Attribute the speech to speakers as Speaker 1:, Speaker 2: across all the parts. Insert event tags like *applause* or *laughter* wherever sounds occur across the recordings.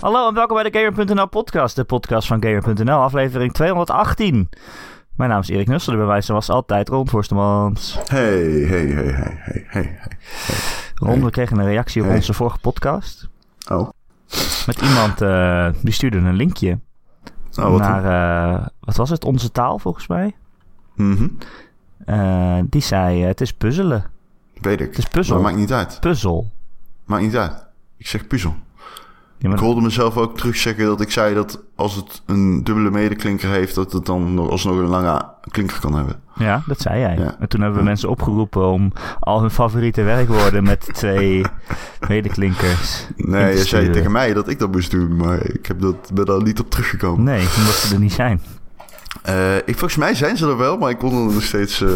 Speaker 1: Hallo en welkom bij de Gamer.nl podcast, de podcast van Gamer.nl, aflevering 218. Mijn naam is Erik Nusselder, bij mij zoals altijd Ron Forstemans.
Speaker 2: Hey, hey, hey, hey, hey, hey. hey.
Speaker 1: Ron, we kregen een reactie op
Speaker 2: Hey.
Speaker 1: onze vorige podcast.
Speaker 2: Oh,
Speaker 1: Met iemand, eh, die stuurde een linkje
Speaker 2: oh wat
Speaker 1: naar,
Speaker 2: dan?
Speaker 1: eh, wat was het, Onze Taal volgens mij.
Speaker 2: Mhm.
Speaker 1: Eh, die zei, eh, het is puzzelen.
Speaker 2: Weet ik.
Speaker 1: Het is puzzel.
Speaker 2: Maar maakt niet uit.
Speaker 1: Puzzel.
Speaker 2: Maakt niet uit. Ik zeg puzzel.
Speaker 1: Ja, maar
Speaker 2: Ik hoorde mezelf ook terugzeggen dat ik zei dat als het een dubbele medeklinker heeft, dat het dan nog alsnog een lange a- klinker kan hebben.
Speaker 1: Ja, dat zei jij.
Speaker 2: Ja.
Speaker 1: En toen hebben we mensen opgeroepen om al hun favoriete werkwoorden met
Speaker 2: *laughs*
Speaker 1: twee medeklinkers. in te
Speaker 2: Nee, je zei
Speaker 1: sturen.
Speaker 2: tegen mij dat ik dat moest doen, maar ik heb dat, ben daar niet op teruggekomen.
Speaker 1: Nee, omdat ze er niet zijn.
Speaker 2: Eh, ik, volgens mij zijn ze er wel, maar ik kon er nog steeds... eh,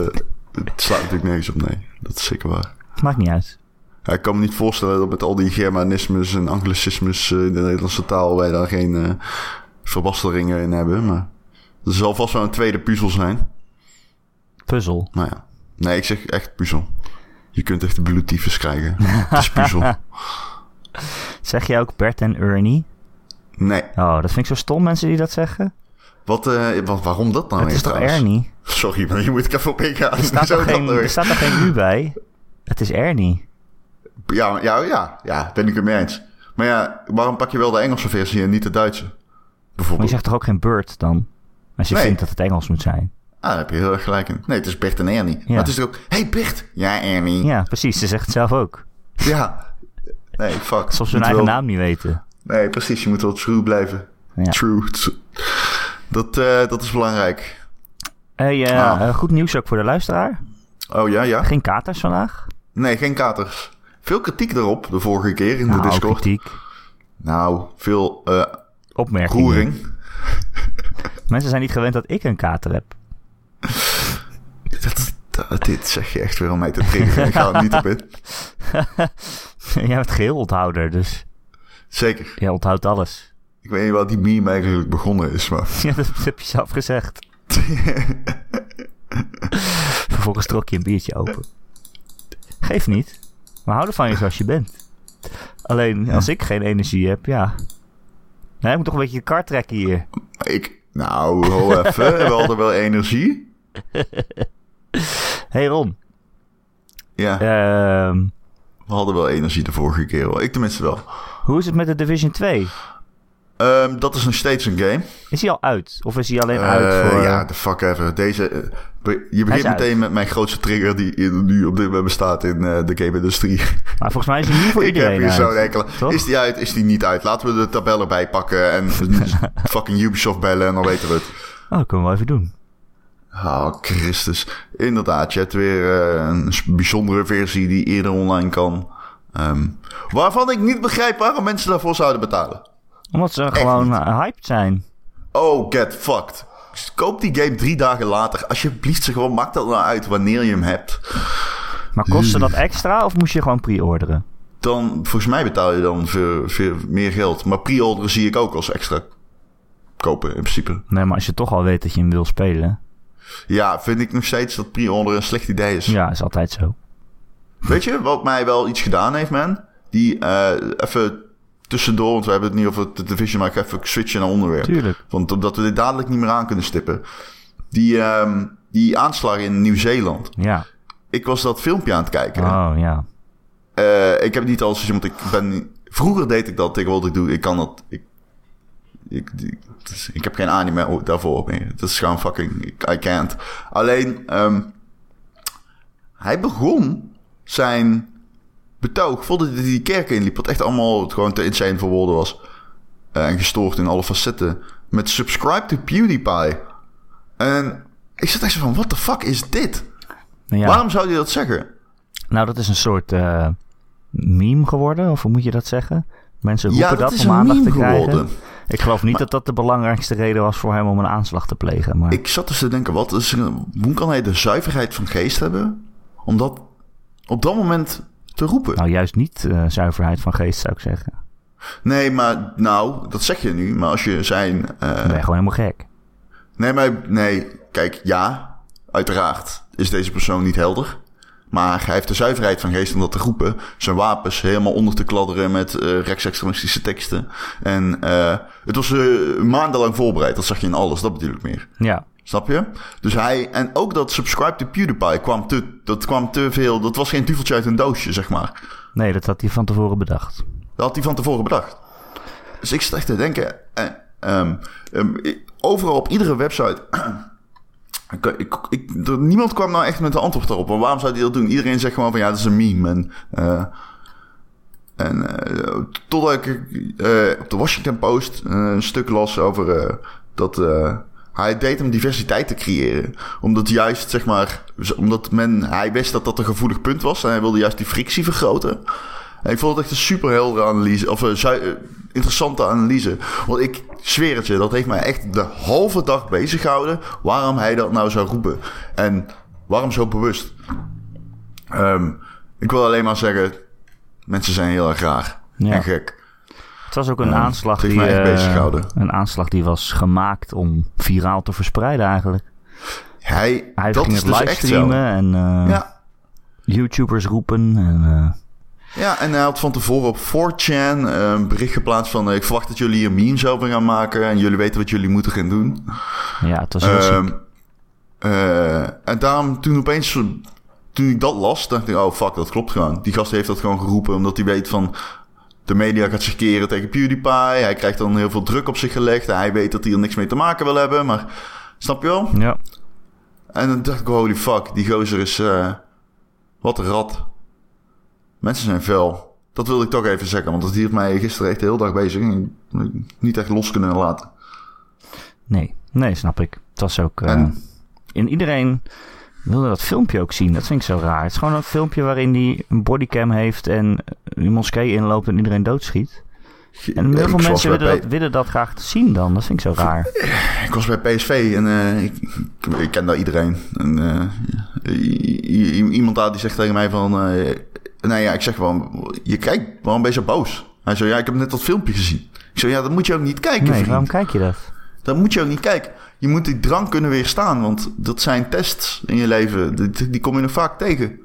Speaker 2: het slaat natuurlijk nergens op, nee. Dat is zeker waar.
Speaker 1: Maakt niet uit.
Speaker 2: Ja, ik kan me niet voorstellen dat met al die germanismes en anglicismes eh, in de Nederlandse taal wij daar geen eh verbasteringen in hebben. Maar er zal vast wel een tweede puzzel zijn.
Speaker 1: Puzzel.
Speaker 2: Nou ja. Nee, ik zeg echt puzzel. Je kunt echt de bloedtyfus krijgen. Het is
Speaker 1: *laughs*
Speaker 2: puzzel.
Speaker 1: Zeg jij ook Bert en Ernie?
Speaker 2: Nee.
Speaker 1: Oh, dat vind ik zo stom, mensen die dat zeggen.
Speaker 2: Wat, eh, wat, waarom dat nou
Speaker 1: het
Speaker 2: weer
Speaker 1: is toch
Speaker 2: trouwens? *laughs*
Speaker 1: Ernie?
Speaker 2: Sorry, maar hier moet ik even op ingaan.
Speaker 1: Er staat,
Speaker 2: *laughs* Zo
Speaker 1: toch
Speaker 2: kan
Speaker 1: geen,
Speaker 2: dat nou
Speaker 1: er
Speaker 2: weer.
Speaker 1: staat toch geen U bij? Het is Ernie.
Speaker 2: Ja, ja, ja, ja, ben ik het mee eens. Maar ja, waarom pak je wel de Engelse versie en niet de Duitse?
Speaker 1: Maar je
Speaker 2: Bijvoorbeeld.
Speaker 1: zegt toch ook geen Bert dan? Als je
Speaker 2: Nee.
Speaker 1: vindt dat het Engels moet zijn.
Speaker 2: Ah, daar heb je heel erg gelijk in. Nee, het is Bert en Ernie. Maar het is toch ook... hey Bert! Ja, Ernie. Ja.
Speaker 1: Ja, precies. Ze zegt het zelf ook.
Speaker 2: Nee, fuck.
Speaker 1: Soms hun
Speaker 2: Moet
Speaker 1: eigen
Speaker 2: wel-
Speaker 1: naam niet weten.
Speaker 2: Nee, precies. Je moet wel true blijven.
Speaker 1: Ja.
Speaker 2: True. Tr- Dat, eh, dat is belangrijk.
Speaker 1: Hey, eh,
Speaker 2: Ah.
Speaker 1: eh, goed nieuws ook voor de luisteraar.
Speaker 2: Oh ja, ja.
Speaker 1: Geen katers vandaag.
Speaker 2: Nee, geen katers. Veel kritiek daarop de vorige keer in de
Speaker 1: Nou,
Speaker 2: Discord.
Speaker 1: kritiek.
Speaker 2: Nou, veel eh
Speaker 1: Opmerkingen.
Speaker 2: roering.
Speaker 1: Mensen zijn niet gewend dat ik een kater heb. *laughs*
Speaker 2: Dat, dat- dit zeg je echt weer om mij te triggeren. Ik ga er niet op
Speaker 1: *laughs*
Speaker 2: in.
Speaker 1: Jij bent geheel onthouder, dus
Speaker 2: Zeker.
Speaker 1: jij onthoudt alles. *laughs*
Speaker 2: Ik weet niet waar die meme eigenlijk begonnen is, maar... *laughs*
Speaker 1: Ja, dat heb je zelf gezegd. Vervolgens trok je een biertje open. Geeft niet. We houden van je zoals je bent. Alleen als ik geen energie heb, ja. Nee, ik moet toch een beetje je kar trekken
Speaker 2: *laughs*
Speaker 1: hier.
Speaker 2: Ik... Nou, ho
Speaker 1: *laughs*
Speaker 2: even. We hadden wel energie.
Speaker 1: Hey Ron,
Speaker 2: Ja.
Speaker 1: ehm,
Speaker 2: We hadden wel energie de vorige keer. hoor. Ik tenminste wel.
Speaker 1: hoe is het met de Division 2?
Speaker 2: Ehm, dat is nog steeds een game.
Speaker 1: Is hij al uit? Of is hij alleen
Speaker 2: Eh,
Speaker 1: uit voor...
Speaker 2: Ja, the fuck ever. Deze, eh, be- je
Speaker 1: Hij is
Speaker 2: begint meteen
Speaker 1: uit.
Speaker 2: met mijn grootste trigger die in- nu op dit moment bestaat in eh, de game-industrie.
Speaker 1: Maar volgens mij is hij nu voor
Speaker 2: *laughs* Ik heb
Speaker 1: iedereen
Speaker 2: hier
Speaker 1: uit.
Speaker 2: zo'n enkele.
Speaker 1: toch?
Speaker 2: Is die uit? Is die niet uit? Laten we de tabellen
Speaker 1: *laughs*
Speaker 2: bijpakken en fucking Ubisoft bellen en dan weten we het.
Speaker 1: Oh, dat kunnen we wel even doen.
Speaker 2: Oh, Christus. Inderdaad, je hebt weer eh, een s- bijzondere versie die eerder online kan. Ehm, waarvan ik niet begrijp waarom mensen daarvoor zouden betalen.
Speaker 1: Omdat ze gewoon eh, hyped zijn.
Speaker 2: Oh, get fucked. Koop die game drie dagen later. Alsjeblieft, ze gewoon maakt dat nou uit wanneer je hem hebt.
Speaker 1: Maar kostte dat extra of moest je gewoon pre-orderen?
Speaker 2: Dan, volgens mij betaal je dan veel, veel meer geld. Maar pre-orderen zie ik ook als extra kopen in principe.
Speaker 1: Nee, maar als je toch al weet dat je hem wil spelen.
Speaker 2: Ja, vind ik nog steeds dat pre-orderen een slecht idee is.
Speaker 1: Ja, is altijd zo.
Speaker 2: Weet je, wat mij wel iets gedaan heeft, man? Die, eh, even tussendoor, want we hebben het niet over de Division, maar ik ga even switchen naar onderwerp.
Speaker 1: Tuurlijk.
Speaker 2: Want omdat we dit dadelijk niet meer aan kunnen stippen. Die, ehm, die aanslag in Nieuw-Zeeland.
Speaker 1: Ja.
Speaker 2: Ik was dat filmpje aan het kijken.
Speaker 1: Oh ja.
Speaker 2: Eh, ik heb het niet al seizoen, want ik ben... Vroeger deed ik dat, tegenwoordig doe ik kan dat... Ik, ik, ik, het is- ik heb geen anime o- daarvoor meer. Het is gewoon fucking... ik- I can't. Alleen, ehm, hij begon zijn betoog, voordat hij die kerk inliep... wat echt allemaal gewoon te insane voor woorden was... eh, en gestoord in alle facetten... met subscribe to PewDiePie. En ik zat echt zo van, what the fuck is dit?
Speaker 1: Nou, ja.
Speaker 2: Waarom zou hij dat zeggen?
Speaker 1: nou dat is een soort eh, meme geworden, of hoe moet je dat zeggen? Mensen roepen
Speaker 2: Ja, dat, is
Speaker 1: om
Speaker 2: een
Speaker 1: aandacht
Speaker 2: meme
Speaker 1: te krijgen.
Speaker 2: geworden.
Speaker 1: Ik geloof niet dat dat de belangrijkste reden was voor hem om een aanslag te plegen. Maar
Speaker 2: Ik zat dus te denken, wat is, er- hoe kan hij de zuiverheid van geest hebben om dat op dat moment te roepen?
Speaker 1: nou juist niet eh, zuiverheid van geest zou ik zeggen.
Speaker 2: Nee, maar nou, dat zeg je nu, maar als je zijn... eh,
Speaker 1: Dan ben je gewoon helemaal gek.
Speaker 2: nee, maar nee, kijk, ja, uiteraard is deze persoon niet helder. Maar hij heeft de zuiverheid van geest om dat te roepen. Zijn wapens helemaal onder te kladderen met eh, rechtsextremistische teksten. En eh, het was eh, maandenlang voorbereid. Dat zag je in alles. Dat bedoel ik meer.
Speaker 1: Ja.
Speaker 2: Snap je? Dus hij, en ook dat subscribe to PewDiePie kwam te, dat kwam te veel, dat was geen duveltje uit een doosje, zeg maar.
Speaker 1: Nee, dat had hij van tevoren bedacht.
Speaker 2: Dat had hij van tevoren bedacht. Dus ik zat echt te denken, eh, ehm, ehm, ik- overal op iedere website, *clears throat* ik, ik, ik- er- niemand kwam nou echt met een antwoord daarop. Want waarom zou hij dat doen? Iedereen zegt gewoon van ja, dat is een meme. En, eh, en eh, totdat ik eh, op de Washington Post eh, een stuk las over eh, dat eh, hij deed om diversiteit te creëren. Omdat juist, zeg maar, z- omdat men, hij wist dat dat een gevoelig punt was en hij wilde juist die frictie vergroten. En ik vond het echt een super heldere analyse, of een zui- eh, interessante analyse. Want ik zweer het je, dat heeft mij echt de halve dag bezig gehouden waarom hij dat nou zou roepen. En waarom zo bewust. Ehm, ik wil alleen maar zeggen, mensen zijn heel erg raar
Speaker 1: Ja.
Speaker 2: en gek.
Speaker 1: Het was ook een
Speaker 2: Ja,
Speaker 1: aanslag
Speaker 2: het heeft
Speaker 1: die...
Speaker 2: mij echt
Speaker 1: eh,
Speaker 2: beziggehouden.
Speaker 1: een aanslag die was gemaakt om viraal te verspreiden eigenlijk.
Speaker 2: Hij,
Speaker 1: Hij
Speaker 2: dat
Speaker 1: ging
Speaker 2: is
Speaker 1: het
Speaker 2: dus echt zo.
Speaker 1: livestreamen en eh,
Speaker 2: Ja,
Speaker 1: YouTubers roepen. En, eh,
Speaker 2: ja, en hij had van tevoren op 4chan een bericht geplaatst van... eh, ik verwacht dat jullie hier memes over gaan maken... en jullie weten wat jullie moeten gaan doen.
Speaker 1: ja, het was heel
Speaker 2: Ehm,
Speaker 1: ziek.
Speaker 2: eh, en daarom toen opeens... Toen ik dat las, dacht ik... oh fuck, dat klopt gewoon. Die gast heeft dat gewoon geroepen... omdat hij weet van... de media gaat zich keren tegen PewDiePie... hij krijgt dan heel veel druk op zich gelegd... en hij weet dat hij er niks mee te maken wil hebben... maar snap je wel?
Speaker 1: Ja,
Speaker 2: En dan dacht ik, holy fuck, die gozer is... eh, wat een rat. Mensen zijn fel. Dat wilde ik toch even zeggen, want dat hield mij gisteren echt de hele dag bezig. En ik heb het niet echt los kunnen laten.
Speaker 1: nee. Nee, snap ik. Het was ook... eh,
Speaker 2: En-
Speaker 1: en iedereen wilde dat filmpje ook zien. Dat vind ik zo raar. Het is gewoon een filmpje waarin hij een bodycam heeft... en een moskee inloopt en iedereen doodschiet. En heel
Speaker 2: Ik
Speaker 1: veel
Speaker 2: was
Speaker 1: mensen
Speaker 2: bij
Speaker 1: willen
Speaker 2: P-
Speaker 1: dat, willen dat graag zien dan. Dat vind ik zo raar.
Speaker 2: Ik was bij PSV en eh, ik, ik, ik ken daar iedereen. En, eh, i- i- i- iemand daar die zegt tegen mij van... eh, nou ja, ik zeg gewoon, je kijkt, waarom ben je zo boos? Hij zo, ja, ik heb net dat filmpje gezien. Ik zo, ja, dat moet je ook niet kijken,
Speaker 1: Nee,
Speaker 2: vriend.
Speaker 1: waarom kijk je dat?
Speaker 2: Dan moet je ook niet kijken. Je moet die drang kunnen weerstaan, want dat zijn tests in je leven. Die, die kom je nog vaak tegen.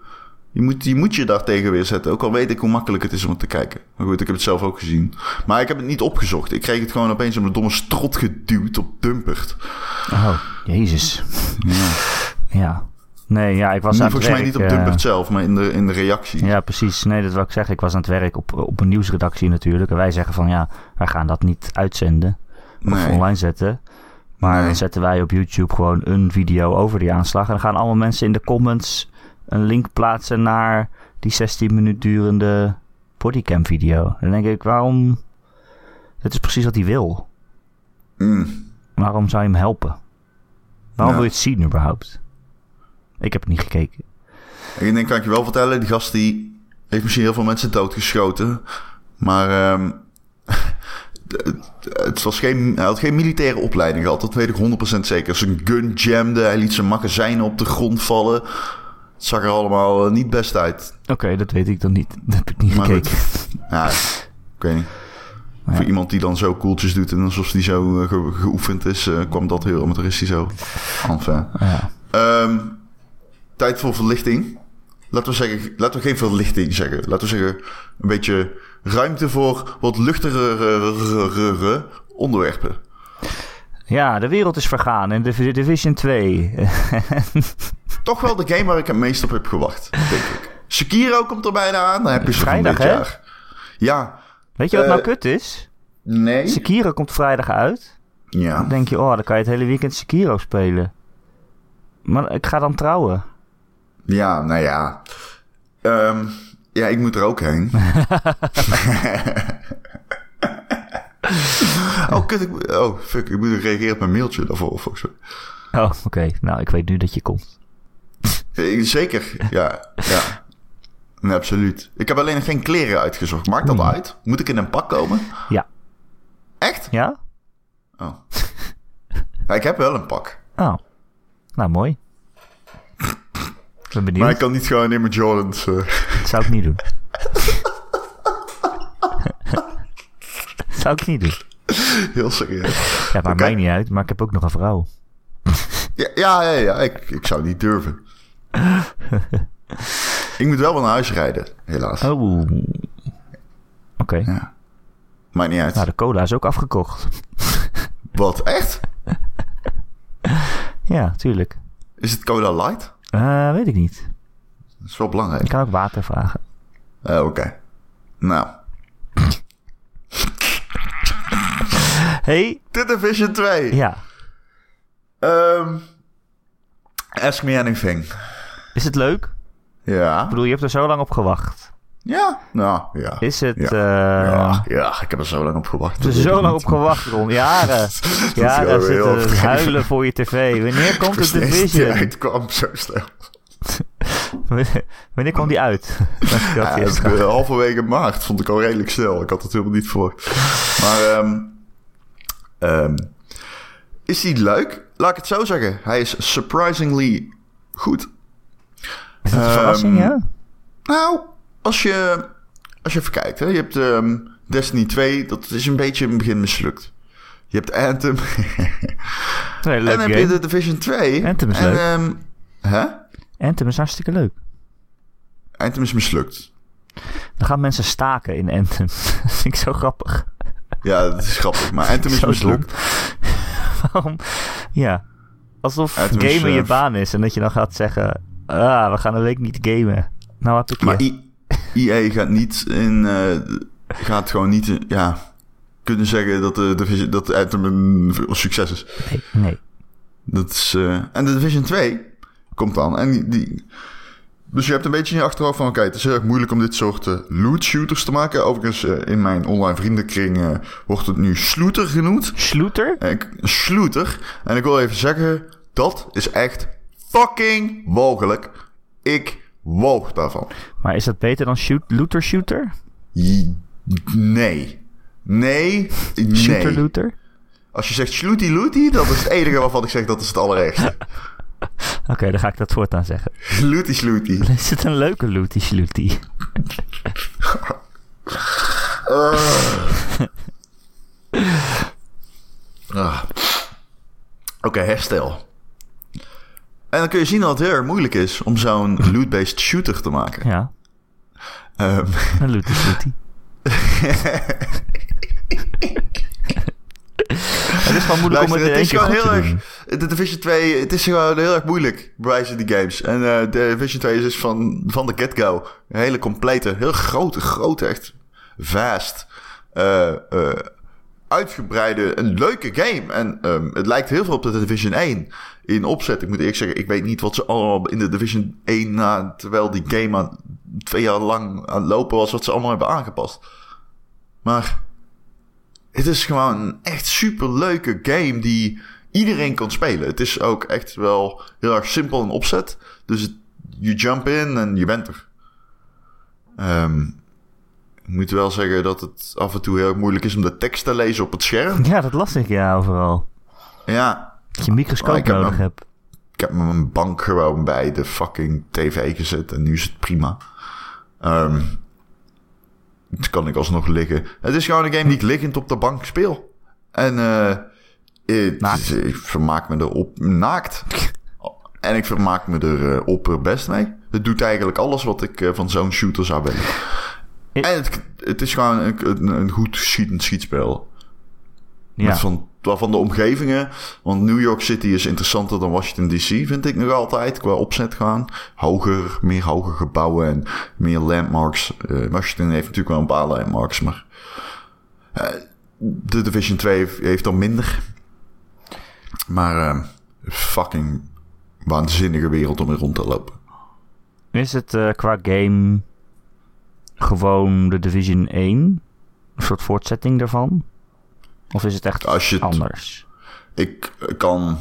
Speaker 2: Je moet, je moet je daar tegen weerzetten. Ook al weet ik hoe makkelijk het is om het te kijken. Maar goed, ik heb het zelf ook gezien. Maar ik heb het niet opgezocht. Ik kreeg het gewoon opeens op een domme strot geduwd op Dumpert.
Speaker 1: Oh, jezus.
Speaker 2: *laughs* Ja.
Speaker 1: Ja. Nee, ja, ik was aan het
Speaker 2: Volgens mij
Speaker 1: werk,
Speaker 2: niet op
Speaker 1: eh,
Speaker 2: Dumpert zelf, maar in de, in de reactie.
Speaker 1: Ja, precies. Nee, dat wil ik zeggen. Ik was aan het werk op, op een nieuwsredactie natuurlijk. En wij zeggen van ja, wij gaan dat niet uitzenden of
Speaker 2: nee.
Speaker 1: online zetten. Maar
Speaker 2: Nee.
Speaker 1: dan zetten wij op YouTube gewoon een video over die aanslag. En dan gaan allemaal mensen in de comments een link plaatsen naar die 16 minuut durende bodycam video. Dan denk ik, waarom? Dit is precies wat hij wil.
Speaker 2: Mm.
Speaker 1: Waarom zou je hem helpen? Waarom
Speaker 2: Ja.
Speaker 1: wil je het zien überhaupt? Ik heb het niet gekeken.
Speaker 2: Ik denk, kan ik je wel vertellen, die gast die heeft misschien heel veel mensen doodgeschoten. Maar ehm, *laughs* het- het was geen, hij had geen militaire opleiding gehad, dat weet ik 100% zeker. Zijn gun jamde, hij liet zijn magazijnen op de grond vallen. Het zag er allemaal eh, niet best uit.
Speaker 1: Oké, dat weet ik dan niet. *laughs* Dat heb ik niet
Speaker 2: Maar
Speaker 1: gekeken.
Speaker 2: Ja, ik weet niet. Voor iemand die dan zo koeltjes doet en alsof die zo eh, ge- geoefend is, eh, kwam dat heel amateuristisch zo. Enfin.
Speaker 1: Ja.
Speaker 2: Ehm, tijd voor verlichting. Laten we, zeggen, laten we geen verlichting zeggen. Laten we zeggen een beetje ruimte voor wat luchtigere onderwerpen.
Speaker 1: ja, de wereld is vergaan en de Division 2.
Speaker 2: Toch wel de game waar ik het meest op heb gewacht, denk ik. Sekiro komt er bijna aan, dan heb je ze van
Speaker 1: Vrijdag,
Speaker 2: dit
Speaker 1: hè?
Speaker 2: jaar. Ja,
Speaker 1: *laughs* Weet je wat
Speaker 2: Eh,
Speaker 1: nou kut is?
Speaker 2: nee.
Speaker 1: Sekiro komt vrijdag uit.
Speaker 2: Ja.
Speaker 1: Dan denk je, oh, dan kan je het hele weekend Sekiro spelen. Maar ik ga dan trouwen.
Speaker 2: Ja, nou ja. Ehm, ja, ik moet er ook
Speaker 1: *laughs*
Speaker 2: heen. oh, kut. Ik, moet- oh, fuck. Ik moet reageren op mijn mailtje daarvoor, volgens mij.
Speaker 1: Oh, oké. Nou, ik weet nu dat je komt.
Speaker 2: Eh, Zeker, ja. ja. Nee, absoluut. Ik heb alleen nog geen kleren uitgezocht. Maakt dat uit? Moet ik in een pak komen?
Speaker 1: Hmm. Ja.
Speaker 2: Echt?
Speaker 1: Ja?
Speaker 2: Oh. Ja, ik heb wel een pak.
Speaker 1: Oh. Nou, mooi. Ik ben benieuwd.
Speaker 2: Maar ik kan niet gewoon in mijn Jordans. eh. *laughs*
Speaker 1: Dat zou ik niet *laughs* doen. Dat zou ik niet doen.
Speaker 2: heel serieus.
Speaker 1: Ja, maakt
Speaker 2: Oké.
Speaker 1: mij niet uit, maar ik heb ook nog een vrouw. *laughs*
Speaker 2: Ja, ja, ja. ja, Ik, ik zou niet durven. Ik moet wel wel naar huis rijden, helaas.
Speaker 1: Oh. Oké.
Speaker 2: Ja. Maakt niet uit.
Speaker 1: Nou, de cola is ook afgekocht.
Speaker 2: Wat, echt?
Speaker 1: Ja, tuurlijk.
Speaker 2: Is het cola light?
Speaker 1: Eh, weet ik niet.
Speaker 2: Dat is wel
Speaker 1: Ik
Speaker 2: belangrijk.
Speaker 1: kan ook water vragen.
Speaker 2: Eh, Oké. Nou,
Speaker 1: Hey.
Speaker 2: dit is Vision 2.
Speaker 1: Ja.
Speaker 2: Ehm, ask me anything.
Speaker 1: Is het leuk?
Speaker 2: Ja.
Speaker 1: Ik bedoel, je hebt er zo lang op gewacht.
Speaker 2: Ja. Nou, ja.
Speaker 1: Is het...
Speaker 2: Ja.
Speaker 1: eh,
Speaker 2: ja. Ja, ik heb er zo lang op gewacht.
Speaker 1: Je hebt er zo lang op
Speaker 2: *laughs*
Speaker 1: gewacht, Ron. Jaren. Jaren
Speaker 2: heel
Speaker 1: zitten
Speaker 2: overdreven.
Speaker 1: huilen voor je tv. Wanneer komt
Speaker 2: *laughs* Het
Speaker 1: de
Speaker 2: Division.
Speaker 1: Division?
Speaker 2: Het kwam zo snel.
Speaker 1: *laughs* Wanneer kwam die uit? *laughs* Dat
Speaker 2: Ja,
Speaker 1: is-
Speaker 2: het, eh, halverwege maart vond ik al redelijk snel. Ik had het helemaal niet voor. Maar ehm, ehm, is die leuk? Laat ik het zo zeggen. Hij is surprisingly goed.
Speaker 1: Is dat een verrassing,
Speaker 2: Ehm,
Speaker 1: ja?
Speaker 2: Nou, als je, als je even kijkt, hè, je hebt ehm, Destiny 2, dat is een beetje in het begin mislukt. Je hebt
Speaker 1: *laughs*
Speaker 2: Anthem.
Speaker 1: Nee,
Speaker 2: en
Speaker 1: leuk
Speaker 2: dan heb je
Speaker 1: game.
Speaker 2: de Division 2.
Speaker 1: Anthem is
Speaker 2: en,
Speaker 1: leuk.
Speaker 2: ehm, hè?
Speaker 1: Anthem is hartstikke leuk.
Speaker 2: Anthem is mislukt.
Speaker 1: Dan gaan mensen staken in Anthem. *laughs* dat vind ik zo grappig.
Speaker 2: Ja, dat is grappig, maar Anthem is
Speaker 1: Zo
Speaker 2: mislukt.
Speaker 1: dom. *laughs* Waarom? Ja. Alsof
Speaker 2: Anthem is,
Speaker 1: gamen
Speaker 2: eh,
Speaker 1: je baan is en dat je dan gaat zeggen... Ah, we gaan een week niet gamen. Nou, wat ik je.
Speaker 2: Maar I- EA gaat niet in. eh, gaat gewoon niet. in- ja. Kunnen zeggen dat de Division. dat Anthem een succes is.
Speaker 1: Nee, nee.
Speaker 2: Dat is eh, en de Division 2 komt dan. En die, die- dus je hebt een beetje in je achterhoofd van... oké, het is heel erg moeilijk om dit soort eh, loot shooters te maken. Overigens, eh, in mijn online vriendenkring eh, wordt het nu slooter genoemd.
Speaker 1: Sloeter?
Speaker 2: En ik, slooter. En ik wil even zeggen, dat is echt fucking walgelijk. Ik woog daarvan.
Speaker 1: Maar is dat beter dan shoot, looter shooter?
Speaker 2: J- Nee. Nee.
Speaker 1: Shooter
Speaker 2: Nee.
Speaker 1: looter?
Speaker 2: Als je zegt slooty looty, dat is het enige waarvan ik zeg dat is het allerergste.
Speaker 1: Oké, dan ga ik dat voortaan zeggen. *laughs*
Speaker 2: Slooty slooty.
Speaker 1: Is het een leuke looty slooty?
Speaker 2: Ah. Oké, herstel. En dan kun je zien dat het heel erg moeilijk is om zo'n loot-based shooter te maken.
Speaker 1: Ja,
Speaker 2: Ehm,
Speaker 1: een looty slooty.
Speaker 2: *laughs*
Speaker 1: het is gewoon moeilijk om
Speaker 2: luister,
Speaker 1: het in één keer goed
Speaker 2: heel
Speaker 1: te
Speaker 2: erg.
Speaker 1: doen.
Speaker 2: De Division 2, het is gewoon heel erg moeilijk bij wijze die games. En eh, de Division 2 is dus van, van de get-go. Een hele complete, heel grote, grote, echt vast. eh, eh, uitgebreide, een leuke game. En ehm, het lijkt heel veel op de Division 1 in opzet. Ik moet eerlijk zeggen, ik weet niet wat ze allemaal in de Division 1 na, terwijl die game aan, twee jaar lang aan het lopen was, wat ze allemaal hebben aangepast. Maar het is gewoon een echt super leuke game die iedereen kan spelen. Het is ook echt wel heel erg simpel in opzet. Dus het- je jump in en je bent er. Ehm, ik moet wel zeggen dat het af en toe heel erg moeilijk is om de tekst te lezen op het scherm.
Speaker 1: Ja, dat las ik ja overal.
Speaker 2: Ja,
Speaker 1: Dat je een microscoop
Speaker 2: Oh, ik heb
Speaker 1: nodig
Speaker 2: hem.
Speaker 1: hebt.
Speaker 2: ik heb mijn bank gewoon bij de fucking tv gezet en nu is het prima. Ehm het kan ik alsnog liggen. Het is gewoon een game die ik liggend op de bank speel. En eh het-
Speaker 1: Naakt.
Speaker 2: ik vermaak me er op
Speaker 1: *laughs*
Speaker 2: naakt. En ik vermaak me er eh, op best mee. Het doet eigenlijk alles wat ik eh, van zo'n shooter zou willen.
Speaker 1: Ik-
Speaker 2: En het, het is gewoon een, een, een goed schietend schietspel.
Speaker 1: Ja.
Speaker 2: Met van, van de omgevingen. Want New York City is interessanter dan Washington DC, vind ik nog altijd. Qua opzet gaan. Hoger, meer hoge gebouwen en meer landmarks. Eh, Washington heeft natuurlijk wel een paar landmarks, maar... eh, de Division 2 heeft, heeft dan minder. Maar eh, fucking waanzinnige wereld om in rond te lopen.
Speaker 1: Is het eh, qua game gewoon de Division 1? Een soort voortzetting daarvan? Of is het echt
Speaker 2: Als je het-
Speaker 1: anders?
Speaker 2: Ik kan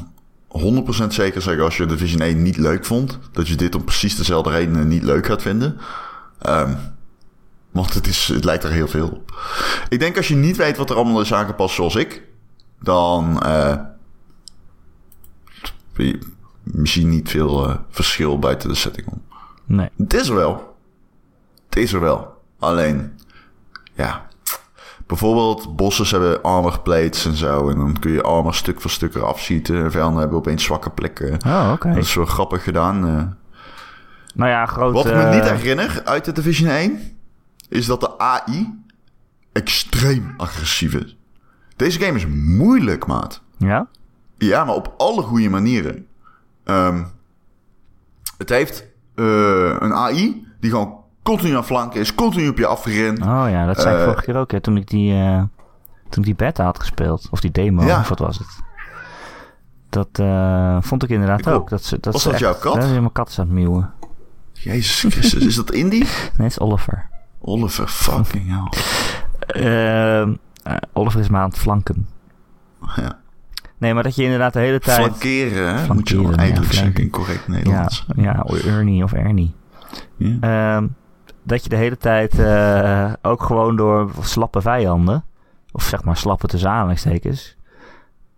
Speaker 2: 100% zeker zeggen als je Division 1 niet leuk vond, dat je dit om precies dezelfde redenen niet leuk gaat vinden. Ehm, want het, is, het lijkt er heel veel op. Ik denk als je niet weet wat er allemaal is aangepast zoals ik, dan eh, je misschien niet veel eh, verschil buiten de setting om.
Speaker 1: Nee.
Speaker 2: Het is er wel. Het is er wel. Alleen, ja. Bijvoorbeeld, bosses hebben armor plates en zo. En dan kun je armor stuk voor stuk eraf schieten. En vijanden hebben opeens zwakke plekken.
Speaker 1: Oh, oké.
Speaker 2: Dat is wel grappig gedaan. eh.
Speaker 1: Nou ja, groot...
Speaker 2: Wat ik me
Speaker 1: eh,
Speaker 2: niet herinner uit de Division 1 is dat de AI extreem agressief is. Deze game is moeilijk, maat.
Speaker 1: Ja?
Speaker 2: Ja, maar op alle goede manieren. Ehm, het heeft eh, een AI die gewoon continu aan flanken is, continu op je afgerend.
Speaker 1: Oh ja, dat zei ik
Speaker 2: Eh,
Speaker 1: vorige keer ook, hè, toen ik die, eh, toen ik die beta had gespeeld. Of die demo,
Speaker 2: Ja.
Speaker 1: of wat was het? Dat eh, vond ik inderdaad
Speaker 2: Ik
Speaker 1: ook.
Speaker 2: ook.
Speaker 1: Dat, ze- dat
Speaker 2: Was
Speaker 1: ze
Speaker 2: dat
Speaker 1: echt-
Speaker 2: jouw kat?
Speaker 1: Ja, dat is mijn kat is aan het miauwen.
Speaker 2: Jezus Christus, is dat Indy?
Speaker 1: Nee, het is Oliver.
Speaker 2: Oliver, fucking hell.
Speaker 1: Ehm, eh, Oliver is me aan het flanken.
Speaker 2: Ja.
Speaker 1: Nee, maar dat je inderdaad de hele tijd...
Speaker 2: Flankeren, hè, moet je dan
Speaker 1: Flankeren,
Speaker 2: eigenlijk
Speaker 1: ja,
Speaker 2: zeggen
Speaker 1: flanken.
Speaker 2: in correct
Speaker 1: ja,
Speaker 2: Nederlands.
Speaker 1: ja, Ernie of Ernie.
Speaker 2: Ja.
Speaker 1: Ehm, dat je de hele tijd eh, ook gewoon door slappe vijanden, of zeg maar slappe tussen aanhalingstekens,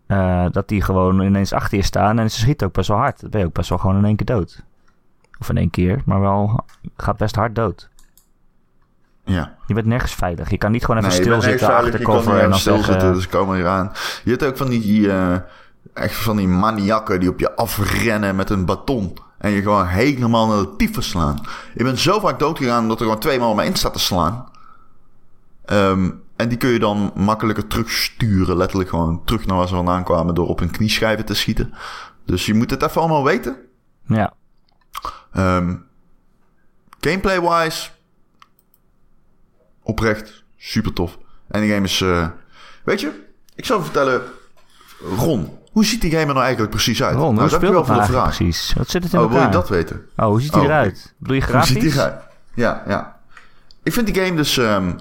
Speaker 1: eh, dat die gewoon ineens achter je staan en ze schieten ook best wel hard. Dan ben je ook best wel gewoon in één keer dood. Of in één keer, maar wel gaat best hard dood.
Speaker 2: ja.
Speaker 1: Je bent nergens veilig. Je kan niet gewoon even
Speaker 2: Nee, je bent
Speaker 1: stilzitten
Speaker 2: echt
Speaker 1: achter
Speaker 2: veilig, je kan
Speaker 1: cover
Speaker 2: niet
Speaker 1: en dan
Speaker 2: stil
Speaker 1: zeggen...
Speaker 2: zitten, dus komen hier aan. Je hebt ook van die, eh, echt van die maniakken die op je afrennen met een baton. En je gewoon helemaal naar de tyfus slaan. Je bent zo vaak doodgegaan dat er gewoon twee man om me in staat te slaan. Ehm, en die kun je dan makkelijker terugsturen. Letterlijk gewoon terug naar waar ze vandaan kwamen door op hun knieschijven te schieten. Dus je moet het even allemaal weten.
Speaker 1: Ja,
Speaker 2: Ehm, Gameplay-wise, oprecht, super tof. En die game is, eh, weet je, ik zou vertellen, Ron, hoe ziet die game er nou eigenlijk precies uit?
Speaker 1: Ron,
Speaker 2: nou,
Speaker 1: hoe speelt
Speaker 2: dankjewel
Speaker 1: dat nou
Speaker 2: voor de
Speaker 1: eigenlijk
Speaker 2: vraag.
Speaker 1: precies? Wat zit het in
Speaker 2: Oh, wil
Speaker 1: elkaar?
Speaker 2: je dat weten?
Speaker 1: Oh, hoe ziet hij
Speaker 2: Oh,
Speaker 1: eruit? Bedoel je
Speaker 2: Hoe
Speaker 1: grafisch?
Speaker 2: ziet die eruit? Ja, ja. Ik vind die game dus ehm,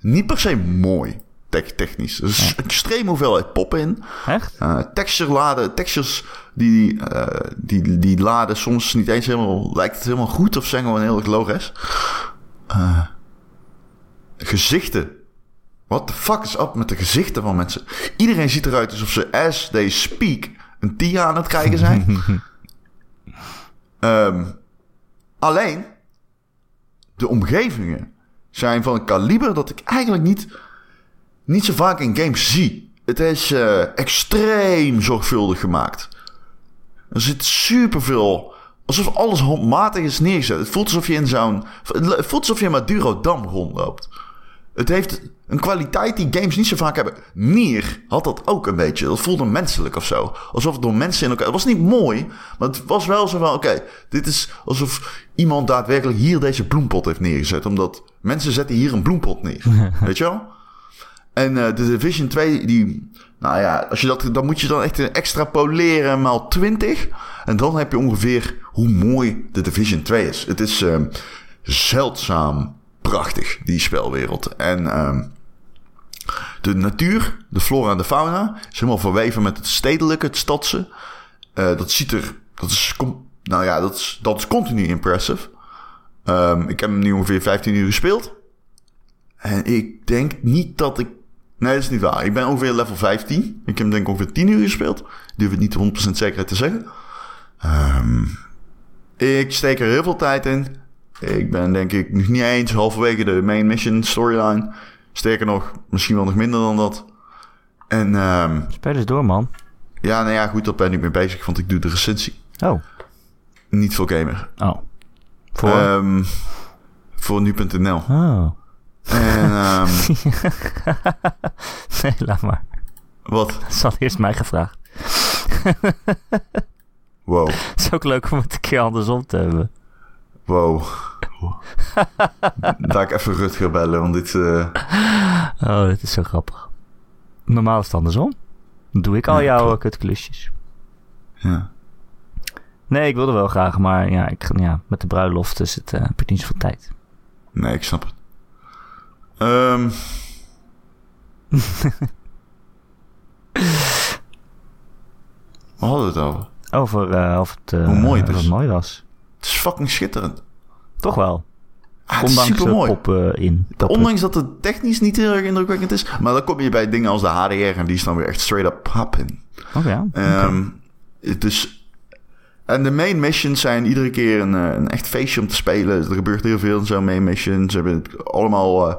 Speaker 2: niet per se mooi, tech- technisch. Er is een extreem hoeveelheid pop in.
Speaker 1: Echt?
Speaker 2: Eh, texture laden, textures die, eh, die, die laden soms niet eens helemaal, lijkt het helemaal goed of zijn gewoon heel erg low res. Eh, gezichten. What the fuck is up met de gezichten van mensen? Iedereen ziet eruit alsof ze as they speak een tia aan het kijken zijn. Ehm, alleen, de omgevingen zijn van een kaliber dat ik eigenlijk niet niet zo vaak in games zie. Het is eh, extreem zorgvuldig gemaakt. Er zit superveel. Alsof alles handmatig is neergezet. Het voelt alsof je in zo'n. Het voelt alsof je in Maduro Dam rondloopt. Het heeft een kwaliteit die games niet zo vaak hebben. Nier had dat ook een beetje. Dat voelde menselijk of zo. Alsof het door mensen in elkaar. Het was niet mooi, maar het was wel zo van: oké, dit is alsof iemand daadwerkelijk hier deze bloempot heeft neergezet. Omdat mensen zetten hier een bloempot neer. Weet je wel? En eh, de Division 2, die. Nou ja, als je dat, dan moet je dan echt extrapoleren maal 20. En dan heb je ongeveer hoe mooi de Division 2 is. Het is ehm, zeldzaam prachtig, die spelwereld. En ehm, de natuur, de flora en de fauna, is helemaal verweven met het stedelijke, het stadse. Eh, dat ziet er. Dat is, com- nou ja, dat is, dat is continu impressive. Ehm, ik heb hem nu ongeveer 15 uur gespeeld. En ik denk niet dat ik. Nee, dat is niet waar. Ik ben ongeveer level 15. Ik heb hem denk ik ongeveer 10 uur gespeeld. Ik durf het niet 100% zekerheid te zeggen. Ehm, ik steek er heel veel tijd in. Ik ben denk ik nog niet eens halverwege de main mission storyline. Sterker nog, misschien wel nog minder dan dat. En ehm,
Speaker 1: Speel eens door, man.
Speaker 2: ja, nou ja, goed, dat ben ik mee bezig, want ik doe de recensie.
Speaker 1: Oh,
Speaker 2: Niet voor gamer.
Speaker 1: oh. Voor...
Speaker 2: Ehm, voor nu.nl.
Speaker 1: Oh.
Speaker 2: En ehm,
Speaker 1: *laughs* nee, laat maar.
Speaker 2: wat?
Speaker 1: Dat is al eerst mij gevraagd. *laughs*
Speaker 2: Wow.
Speaker 1: Het is ook leuk om het een keer andersom te hebben.
Speaker 2: Wow. *laughs* Laat ik even Rutger bellen, want dit... eh,
Speaker 1: Oh, dit is zo grappig. Normaal is het andersom. Dan doe ik al
Speaker 2: Ja,
Speaker 1: jouw eh,
Speaker 2: klopt.
Speaker 1: kutklusjes.
Speaker 2: ja.
Speaker 1: Nee, ik wilde wel graag, maar ja, ik, ja met de bruiloft is het, eh, heb ik niet zoveel tijd.
Speaker 2: Nee, ik snap het.
Speaker 1: *laughs*
Speaker 2: Ehm, we hadden het over.
Speaker 1: Over eh, of het, eh,
Speaker 2: Hoe mooi het
Speaker 1: of
Speaker 2: is.
Speaker 1: mooi was.
Speaker 2: Het is fucking schitterend.
Speaker 1: Toch wel.
Speaker 2: Ah, het is
Speaker 1: Ondanks de
Speaker 2: supermooi.
Speaker 1: pop eh, in. Pop-up.
Speaker 2: Ondanks dat het technisch niet heel erg indrukwekkend is. Maar dan kom je bij dingen als de HDR en die is dan weer echt straight up happen.
Speaker 1: Oh ja.
Speaker 2: Ehm, Het is. En de main missions zijn iedere keer een, eh, een echt feestje om te spelen. Dus er gebeurt heel veel in zo'n main missions. Ze hebben het allemaal eh,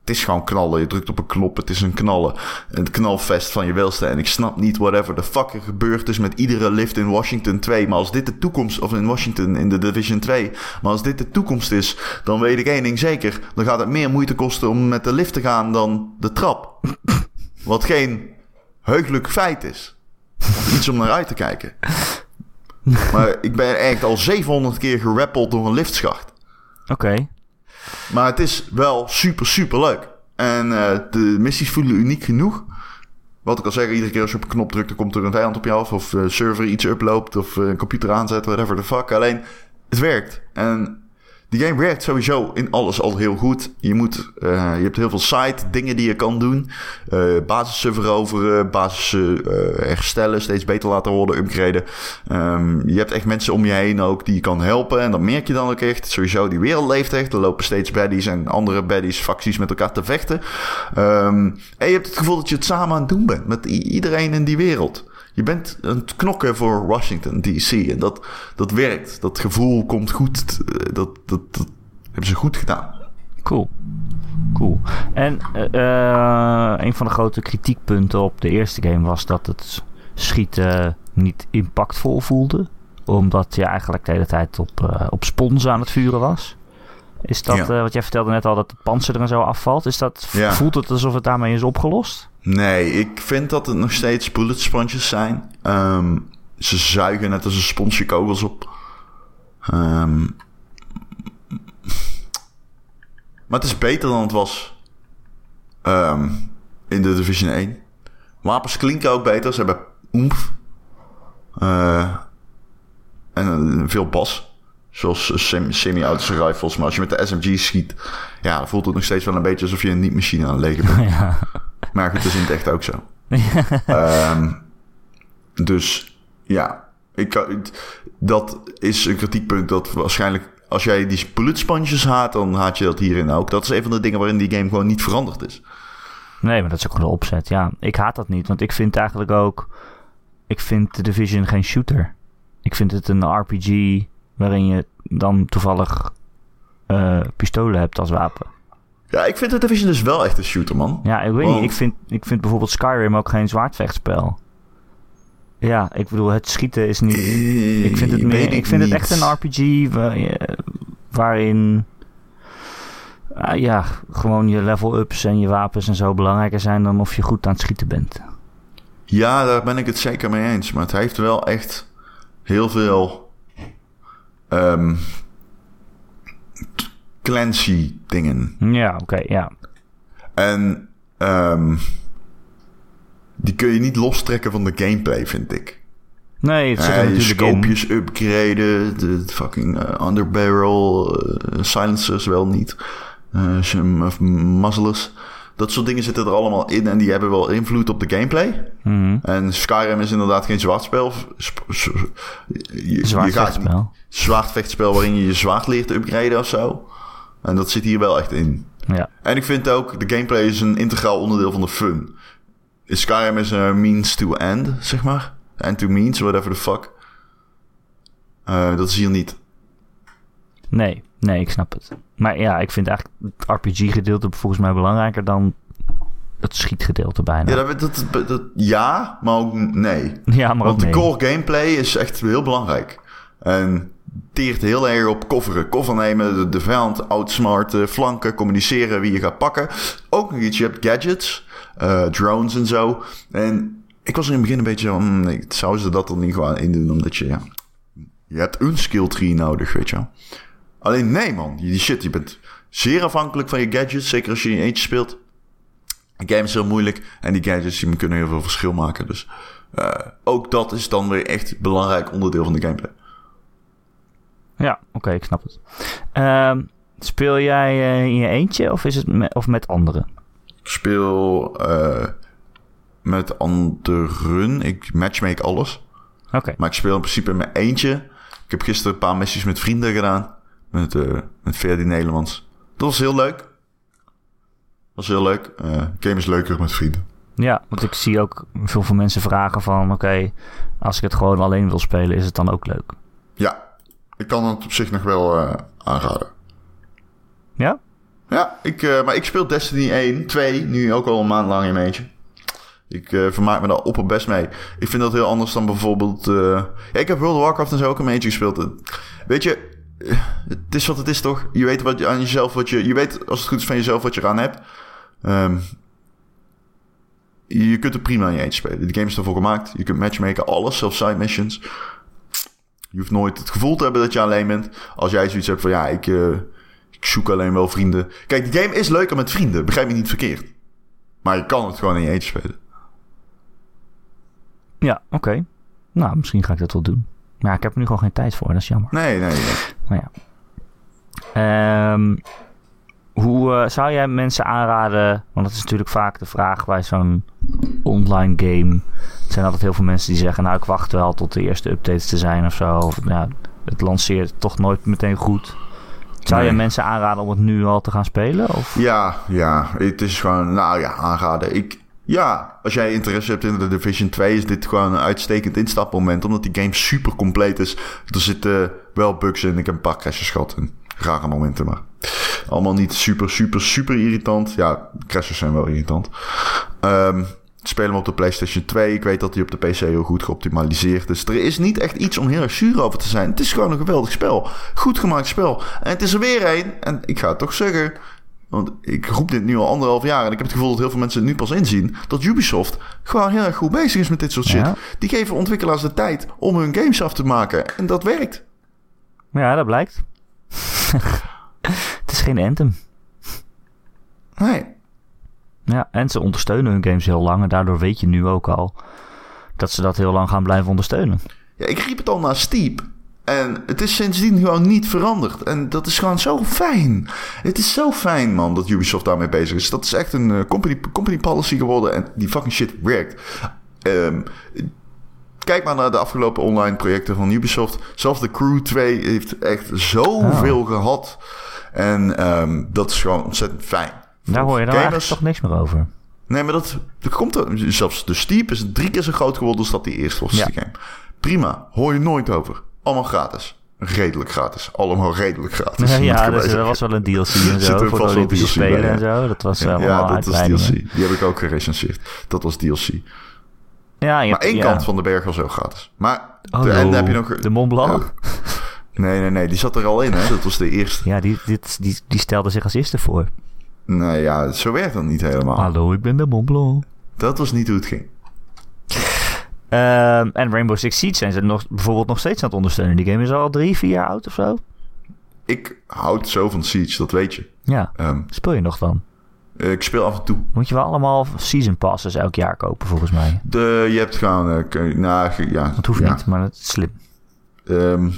Speaker 2: het is gewoon knallen. Je drukt op een knop, het is een knallen. Een knalfest van je welste. En ik snap niet whatever the fuck er gebeurd is met iedere lift in Washington 2. Maar als dit de toekomst, of in Washington in de Division 2. Maar als dit de toekomst is, dan weet ik één ding zeker. Dan gaat het meer moeite kosten om met de lift te gaan dan de trap. Wat geen heugelijk feit is. Iets om naar uit te kijken. Maar ik ben echt al 700 keer gerappeld door een liftschacht.
Speaker 1: Oké.
Speaker 2: Maar het is wel super, super leuk. En eh, de missies voelen uniek genoeg. Wat ik al zeg, iedere keer als je op een knop drukt, dan komt er een vijand op je af. Of de server iets uploopt, of eh, een computer aanzet, whatever the fuck. Alleen, het werkt. En die game werkt sowieso in alles al heel goed. Je, moet, eh, je hebt heel veel side dingen die je kan doen. Eh basis veroveren, basis eh, herstellen, steeds beter laten worden, upgraden. Ehm, je hebt echt mensen om je heen ook die je kan helpen. En dat merk je dan ook echt. Sowieso, die wereld leeft echt. Er lopen steeds baddies en andere baddies, facties met elkaar te vechten. Ehm, en je hebt het gevoel dat je het samen aan het doen bent met i- iedereen in die wereld. Je bent aan het knokken voor Washington DC. En dat, dat werkt. Dat gevoel komt goed. Eh, Dat, dat, dat hebben ze goed gedaan.
Speaker 1: Cool. Cool. En eh, eh, een van de grote kritiekpunten op de eerste game was dat het schieten niet impactvol voelde. Omdat je eigenlijk de hele tijd op, eh, op sponsen aan het vuren was. Is dat,
Speaker 2: Ja.
Speaker 1: eh, wat jij vertelde net al, dat de panzer er en zo afvalt? Is dat,
Speaker 2: Ja.
Speaker 1: Voelt het alsof het daarmee is
Speaker 2: *laughs*
Speaker 1: opgelost?
Speaker 2: Nee, ik vind dat het nog steeds bullet sponges zijn. Ehm, ze zuigen net als een sponsje kogels op. Ehm, maar het is beter dan het was ehm, in de Division 1. Wapens klinken ook beter. Ze hebben oemf. Eh, en eh, veel bas. Zoals eh, sem- semi-autische rifles. Maar als je met de SMG schiet... Ja, dan voelt het nog steeds wel een beetje alsof je een niet-machine aan het legen bent.
Speaker 1: ja.
Speaker 2: Maar goed, dat is in het echt ook zo. Ehm, dus ja, ik, kan- het- dat is een kritiekpunt dat waarschijnlijk... Als jij die spulletspanjes haat, dan haat je dat hierin ook. Dat is een van de dingen waarin die game gewoon niet veranderd is.
Speaker 1: Nee, maar dat is ook gewoon de opzet. Ja, ik haat dat niet, want ik vind eigenlijk ook. Ik vind The Division geen shooter. Ik vind het een RPG waarin je dan toevallig eh, pistolen hebt als wapen.
Speaker 2: Ja, ik vind de Division dus wel echt een shooter, man.
Speaker 1: Ja, ik weet
Speaker 2: Wow.
Speaker 1: niet. Ik vind, ik vind bijvoorbeeld Skyrim ook geen zwaardvechtspel. Ja, ik bedoel, het schieten is niet. Ik vind het,
Speaker 2: Eh,
Speaker 1: meer,
Speaker 2: weet
Speaker 1: ik vind het
Speaker 2: niet.
Speaker 1: echt een RPG waar je- waarin. ah, ja, gewoon je level-ups en je wapens en zo belangrijker zijn dan of je goed aan het schieten bent.
Speaker 2: Ja, daar ben ik het zeker mee eens. Maar het heeft wel echt heel veel ehm Clancy dingen.
Speaker 1: Ja, oké, ja.
Speaker 2: En ehm, die kun je niet lostrekken van de gameplay, vind ik.
Speaker 1: Nee, het zit
Speaker 2: Ja,
Speaker 1: er
Speaker 2: je
Speaker 1: natuurlijk in.
Speaker 2: scopejes upgraden, de de fucking eh, underbarrel, eh, silencers wel niet, eh, shim- of muzzlers. Dat soort dingen zitten er allemaal in en die hebben wel invloed op de gameplay.
Speaker 1: Mhm.
Speaker 2: En Skyrim is inderdaad geen zwaardspel. Sp- s- je- je
Speaker 1: Zwaar
Speaker 2: gaat-
Speaker 1: vechtspel.
Speaker 2: Zwaardvechtspel waarin je je zwaard leert upgraden of zo. En dat zit hier wel echt in.
Speaker 1: Ja.
Speaker 2: En ik vind ook, de gameplay is een integraal onderdeel van de fun. Skyrim is een means to end, zeg maar. End to means, whatever the fuck. Eh, dat is hier niet.
Speaker 1: Nee, nee, ik snap het. Maar ja, ik vind eigenlijk het RPG-gedeelte volgens mij belangrijker dan het schietgedeelte bijna.
Speaker 2: Ja,
Speaker 1: Ja,
Speaker 2: dat, dat, dat- dat- ja maar ook nee.
Speaker 1: maar ook
Speaker 2: Want de
Speaker 1: nee.
Speaker 2: core gameplay is echt heel belangrijk. En teert heel erg op coveren. Cover nemen, de, de vijand outsmarten, flanken, communiceren wie je gaat pakken. Ook nog iets, je hebt gadgets, eh, drones en zo. En ik was er in het begin een beetje van, hmm, nee, zouden ze dat dan niet gewoon indoen? Omdat je, ja, je hebt een skill tree nodig, weet je wel. Alleen nee man, die shit, je bent zeer afhankelijk van je gadgets, zeker als je in je eentje speelt. De game is heel moeilijk en die gadgets die kunnen heel veel verschil maken, dus... Eh, ook dat is dan weer echt een belangrijk onderdeel van de gameplay.
Speaker 1: Ja, oké, ik snap het. Ehm, speel jij eh, in je eentje of, is het me- of met anderen?
Speaker 2: Ik speel eh, met anderen. Ik matchmake alles.
Speaker 1: Oké,
Speaker 2: Maar ik speel in principe in mijn eentje. Ik heb gisteren een paar missies met vrienden gedaan. Met, eh met Verdien Nederlands. Dat was heel leuk. was heel leuk. Eh game is leuker met vrienden.
Speaker 1: ja, want ik zie ook veel van mensen vragen van... Oké, als ik het gewoon alleen wil spelen, is het dan ook leuk?
Speaker 2: Ja, ik kan het op zich nog wel eh, aanraden.
Speaker 1: Ja?
Speaker 2: Ja, ik, eh, maar ik speel Destiny 1, 2, nu ook al een maand lang een beetje. Ik eh, vermaak me daar opperbest mee. Ik vind dat heel anders dan bijvoorbeeld... eh, ja, ik heb World of Warcraft en zo ook een beetje gespeeld. Eh, Weet je, eh, het is wat het is toch? Je weet wat je aan jezelf wat je... Je weet als het goed is van jezelf wat je eraan hebt. Ehm, je kunt er prima in je eentje spelen. De game is ervoor gemaakt. Je kunt matchmaken, alles, zelfs side missions. Je hoeft nooit het gevoel te hebben dat je alleen bent. Als jij zoiets hebt van, ja, ik, eh, ik zoek alleen wel vrienden. Kijk, die game is leuker met vrienden. Begrijp me niet verkeerd. Maar je kan het gewoon in je eentje spelen.
Speaker 1: Ja, oké. Nou, misschien ga ik dat wel doen. Maar ja, ik heb er nu gewoon geen tijd voor, dat is jammer.
Speaker 2: Nee, nee, nee.
Speaker 1: Maar Oh ja. Ehm, hoe eh, zou jij mensen aanraden? Want dat is natuurlijk vaak de vraag bij zo'n online game. Er zijn altijd heel veel mensen die zeggen: Nou, ik wacht wel tot de eerste updates te zijn of zo. Of ja, het lanceert toch nooit meteen goed. Zou
Speaker 2: Nee.
Speaker 1: jij mensen aanraden om het nu al te gaan spelen? Of?
Speaker 2: Ja, ja. Het is gewoon, nou ja, aanraden. Ik, ja, als jij interesse hebt in de Division 2, is dit gewoon een uitstekend instapmoment. Omdat die game super compleet is. Er zitten wel bugs in. Ik heb een paar crashes gehad. En rare momenten, maar. Allemaal niet super, super, super irritant. Ja, crashes zijn wel irritant. Ehm speel hem op de PlayStation 2. Ik weet dat hij op de PC heel goed geoptimaliseerd is. Er is niet echt iets om heel erg zuur over te zijn. Het is gewoon een geweldig spel. Goed gemaakt spel. En het is er weer één. En ik ga het toch zeggen. Want ik roep dit nu al anderhalf jaar. En ik heb het gevoel dat heel veel mensen het nu pas inzien. Dat Ubisoft gewoon heel erg goed bezig is met dit soort shit.
Speaker 1: Ja.
Speaker 2: Die geven ontwikkelaars de tijd om hun games af te maken. En dat werkt.
Speaker 1: Ja, dat blijkt. *laughs* het is geen Anthem.
Speaker 2: Nee.
Speaker 1: Ja, en ze ondersteunen hun games heel lang. En daardoor weet je nu ook al dat ze dat heel lang gaan blijven ondersteunen.
Speaker 2: Ja, ik riep het al naar Steep. En het is sindsdien gewoon niet veranderd. En dat is gewoon zo fijn. Het is zo fijn, man, dat Ubisoft daarmee bezig is. Dat is echt een eh, company, company policy geworden. En die fucking shit werkt. Ehm, kijk maar naar de afgelopen online projecten van Ubisoft. Zelfs de Crew 2 heeft echt zoveel
Speaker 1: Ah.
Speaker 2: gehad. En ehm, dat is gewoon ontzettend fijn.
Speaker 1: Daar hoor je dan
Speaker 2: Gamers-
Speaker 1: eigenlijk toch niks meer over.
Speaker 2: Nee, maar dat, dat komt er. Zelfs de Steep is drie keer zo groot geworden als dat die eerste was.
Speaker 1: Ja.
Speaker 2: die game. Prima, hoor je nooit over. Allemaal gratis. Redelijk gratis. Allemaal redelijk gratis. moet
Speaker 1: *laughs* *laughs*
Speaker 2: ik
Speaker 1: ja,
Speaker 2: erbij
Speaker 1: dus er
Speaker 2: zeggen.
Speaker 1: was wel *laughs* een DLC en
Speaker 2: Zit
Speaker 1: zo
Speaker 2: er
Speaker 1: voor
Speaker 2: vast
Speaker 1: de
Speaker 2: wel
Speaker 1: Olympische
Speaker 2: DLC bij,
Speaker 1: Spelen
Speaker 2: ja.
Speaker 1: en zo. Dat was wel
Speaker 2: Ja,
Speaker 1: eh, allemaal
Speaker 2: dat is
Speaker 1: uitbreidingen.
Speaker 2: DLC. Die heb ik ook gerecenseerd. Dat was DLC.
Speaker 1: Ja, je
Speaker 2: Maar
Speaker 1: hebt-
Speaker 2: één
Speaker 1: ja.
Speaker 2: kant van de berg was heel gratis. Maar
Speaker 1: Oh,
Speaker 2: de, en dan
Speaker 1: joh.
Speaker 2: heb je nog...
Speaker 1: De Mont Blanc?
Speaker 2: Nee, nee, nee. Die zat er al in, hè. Dat was de eerste.
Speaker 1: Ja, die, dit, die, die stelde zich als eerste voor.
Speaker 2: Nou ja, zo werkt dat niet helemaal.
Speaker 1: Hallo, ik ben de Mont Blanc.
Speaker 2: Dat was niet hoe het ging.
Speaker 1: Ehm, en Rainbow Six Siege zijn ze nog, bijvoorbeeld nog steeds aan het ondersteunen. Die game is al drie, vier jaar oud of zo.
Speaker 2: Ik houd zo van Siege, dat weet je.
Speaker 1: Ja,
Speaker 2: Ehm,
Speaker 1: speel je nog dan?
Speaker 2: ik speel af en toe.
Speaker 1: Moet je wel allemaal season passes elk jaar kopen volgens mij.
Speaker 2: De, je hebt gewoon... eh, kun- nou, ge- ja,
Speaker 1: Dat hoeft
Speaker 2: ja.
Speaker 1: niet, maar dat is slim.
Speaker 2: Ehm,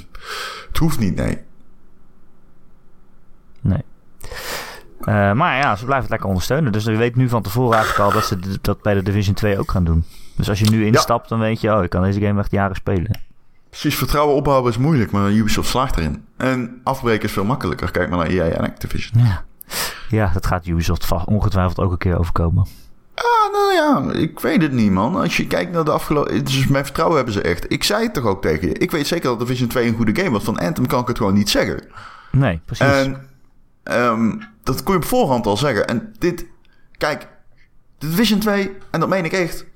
Speaker 2: het hoeft niet, nee.
Speaker 1: Eh, maar ja, ze blijven het lekker ondersteunen. Dus je weet nu van tevoren eigenlijk al dat ze d- dat bij de Division 2 ook gaan doen. Dus als je nu instapt, dan weet je, oh, ik kan deze game echt jaren spelen.
Speaker 2: Precies, vertrouwen opbouwen is moeilijk, maar Ubisoft slaagt erin. En afbreken is veel makkelijker. Kijk maar naar EA en Activision.
Speaker 1: Ja, ja dat gaat Ubisoft va- ongetwijfeld ook een keer overkomen.
Speaker 2: Ah, nou ja, ik weet het niet, man. Als je kijkt naar de afgelopen... Dus mijn vertrouwen hebben ze echt. Ik zei het toch ook tegen je. Ik weet zeker dat Division 2 een goede game was. Van Anthem kan ik het gewoon niet zeggen.
Speaker 1: Nee, precies.
Speaker 2: En ehm, dat kon je op voorhand al zeggen. En dit, kijk, de Division 2, en dat meen ik echt.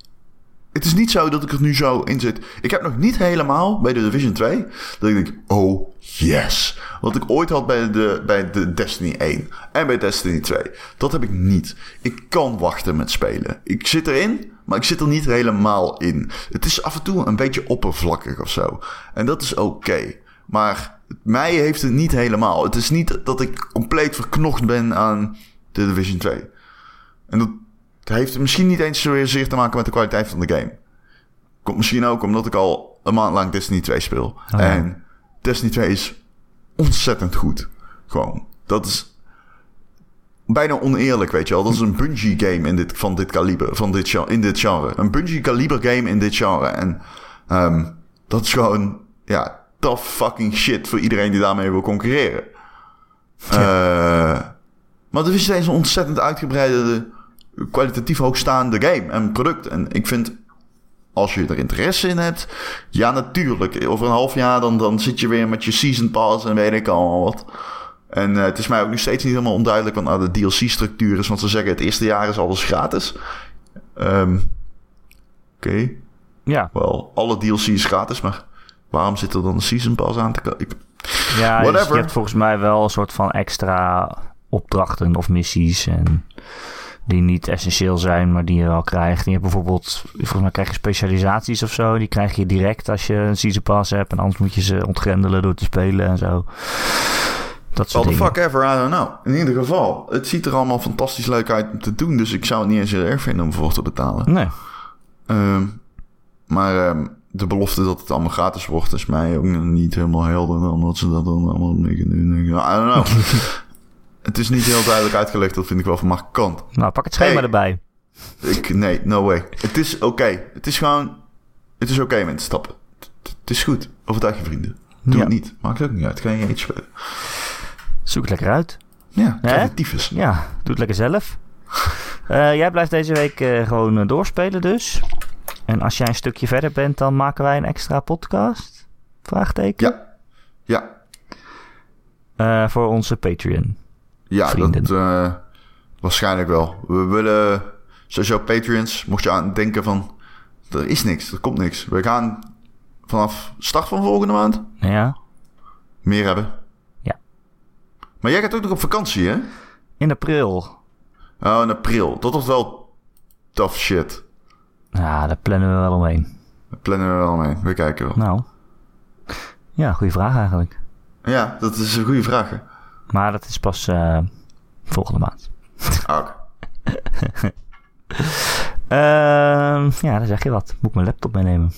Speaker 2: Het is niet zo dat ik er nu zo in zit. Ik heb nog niet helemaal bij de Division 2 dat ik denk, oh yes. Wat ik ooit had bij de, bij de Destiny 1 en bij Destiny 2. Dat heb ik niet. Ik kan wachten met spelen. Ik zit erin, maar ik zit er niet helemaal in. Het is af en toe een beetje oppervlakkig of zo. En dat is oké. Maar mij heeft het niet helemaal. Het is niet dat ik compleet verknocht ben aan de Division 2. En dat heeft misschien niet eens zozeer te maken met de kwaliteit van de game. Komt misschien ook omdat ik al een maand lang Destiny 2 speel.
Speaker 1: ja.
Speaker 2: En Destiny 2 is ontzettend goed. Gewoon. Dat is bijna oneerlijk, weet je wel. Dat is een Bungie game in dit, van dit kaliber, van dit, gen- in dit genre. Een Bungie kaliber game in dit genre. En ehm, dat is gewoon, ja, tough fucking shit voor iedereen die daarmee wil concurreren. Eh, maar het is steeds een ontzettend uitgebreide, kwalitatief hoogstaande game en product. En ik vind, als je er interesse in hebt, ja natuurlijk. Over een half jaar dan, dan zit je weer met je season pass en weet ik al wat. En eh, het is mij ook nu steeds niet helemaal onduidelijk wat nou de DLC-structuur is. Want ze zeggen het eerste jaar is alles gratis. Ehm, Oké,
Speaker 1: Ja,
Speaker 2: wel, alle DLC is gratis, maar waarom zit er dan een Season Pass aan te komen?
Speaker 1: ja dus
Speaker 2: Whatever.
Speaker 1: je hebt volgens mij wel een soort van extra opdrachten of missies en die niet essentieel zijn, maar die je wel krijgt. En je hebt bijvoorbeeld, volgens mij krijg je specialisaties of zo. Die krijg je direct als je een season pass hebt. En anders moet je ze ontgrendelen door te spelen en zo. Dat
Speaker 2: What
Speaker 1: soort
Speaker 2: the
Speaker 1: dingen.
Speaker 2: fuck ever, I don't know. In ieder geval, het ziet er allemaal fantastisch leuk uit om te doen. Dus ik zou het niet eens heel erg vinden om voor te betalen.
Speaker 1: Nee.
Speaker 2: Ehm, maar ehm, de belofte dat het allemaal gratis wordt is mij ook nog niet helemaal helder. dan Omdat ze dat dan allemaal mee gaan doen. Ik- I
Speaker 1: *laughs*
Speaker 2: don't know. het is niet heel duidelijk uitgelegd. Dat vind ik wel van mijn kant.
Speaker 1: Nou, pak het schema
Speaker 2: Hey.
Speaker 1: erbij.
Speaker 2: Ik, nee, no way. Het is oké. Het is gewoon... Het is oké met stappen. Het, het is goed. Overtuig je vrienden. Doe
Speaker 1: Ja.
Speaker 2: het niet. Maakt ook niet uit. Kan je eentje spelen.
Speaker 1: Zoek het lekker uit.
Speaker 2: Ja, krijg
Speaker 1: Hè?
Speaker 2: je tyfus.
Speaker 1: Ja, doe het lekker zelf. Eh, jij blijft deze week eh, gewoon eh, doorspelen dus. En als jij een stukje verder bent, dan maken wij een extra podcast? Vraagteken.
Speaker 2: Ja. Ja,
Speaker 1: Eh, voor onze Patreon.
Speaker 2: Ja,
Speaker 1: vrienden.
Speaker 2: dat eh, waarschijnlijk wel. We willen, sowieso Patreons, mocht je aan denken van, er is niks, er komt niks. We gaan vanaf start van volgende maand
Speaker 1: Nou Ja,
Speaker 2: meer hebben.
Speaker 1: Ja.
Speaker 2: Maar jij gaat ook nog op vakantie, hè?
Speaker 1: in april.
Speaker 2: Oh, in april. Dat was wel tough shit.
Speaker 1: Nou, daar plannen we wel omheen.
Speaker 2: Daar plannen we wel mee. We kijken wel.
Speaker 1: Nou. Ja, goede vraag eigenlijk.
Speaker 2: Ja, dat is een goede
Speaker 1: *laughs*
Speaker 2: vraag. hè?
Speaker 1: Maar dat is pas eh, volgende maand.
Speaker 2: Ah, oké.
Speaker 1: Ehm, ja, dan zeg je wat. Moet ik mijn laptop meenemen.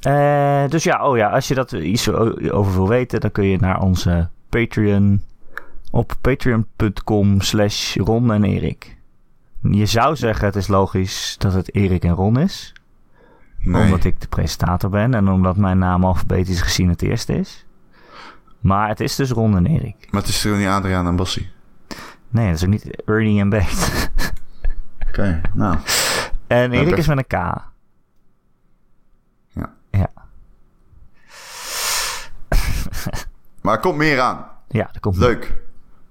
Speaker 1: Eh, dus ja, oh ja, als je dat iets o- over wil weten, dan kun je naar onze Patreon op patreon.com slash Ron en Erik. Je zou zeggen, het is logisch dat het Erik en Ron is.
Speaker 2: Nee.
Speaker 1: Omdat ik de presentator ben en omdat mijn naam alfabetisch gezien het eerste is. Maar het is dus Ron en Erik.
Speaker 2: Maar het is toch niet Adriaan en Bassie?
Speaker 1: Nee, dat is ook niet Ernie en Beet.
Speaker 2: Oké, nou.
Speaker 1: *laughs* En Erik
Speaker 2: Oké.
Speaker 1: is met een K.
Speaker 2: Ja.
Speaker 1: Ja.
Speaker 2: Maar er komt meer aan.
Speaker 1: Ja, dat komt
Speaker 2: Leuk.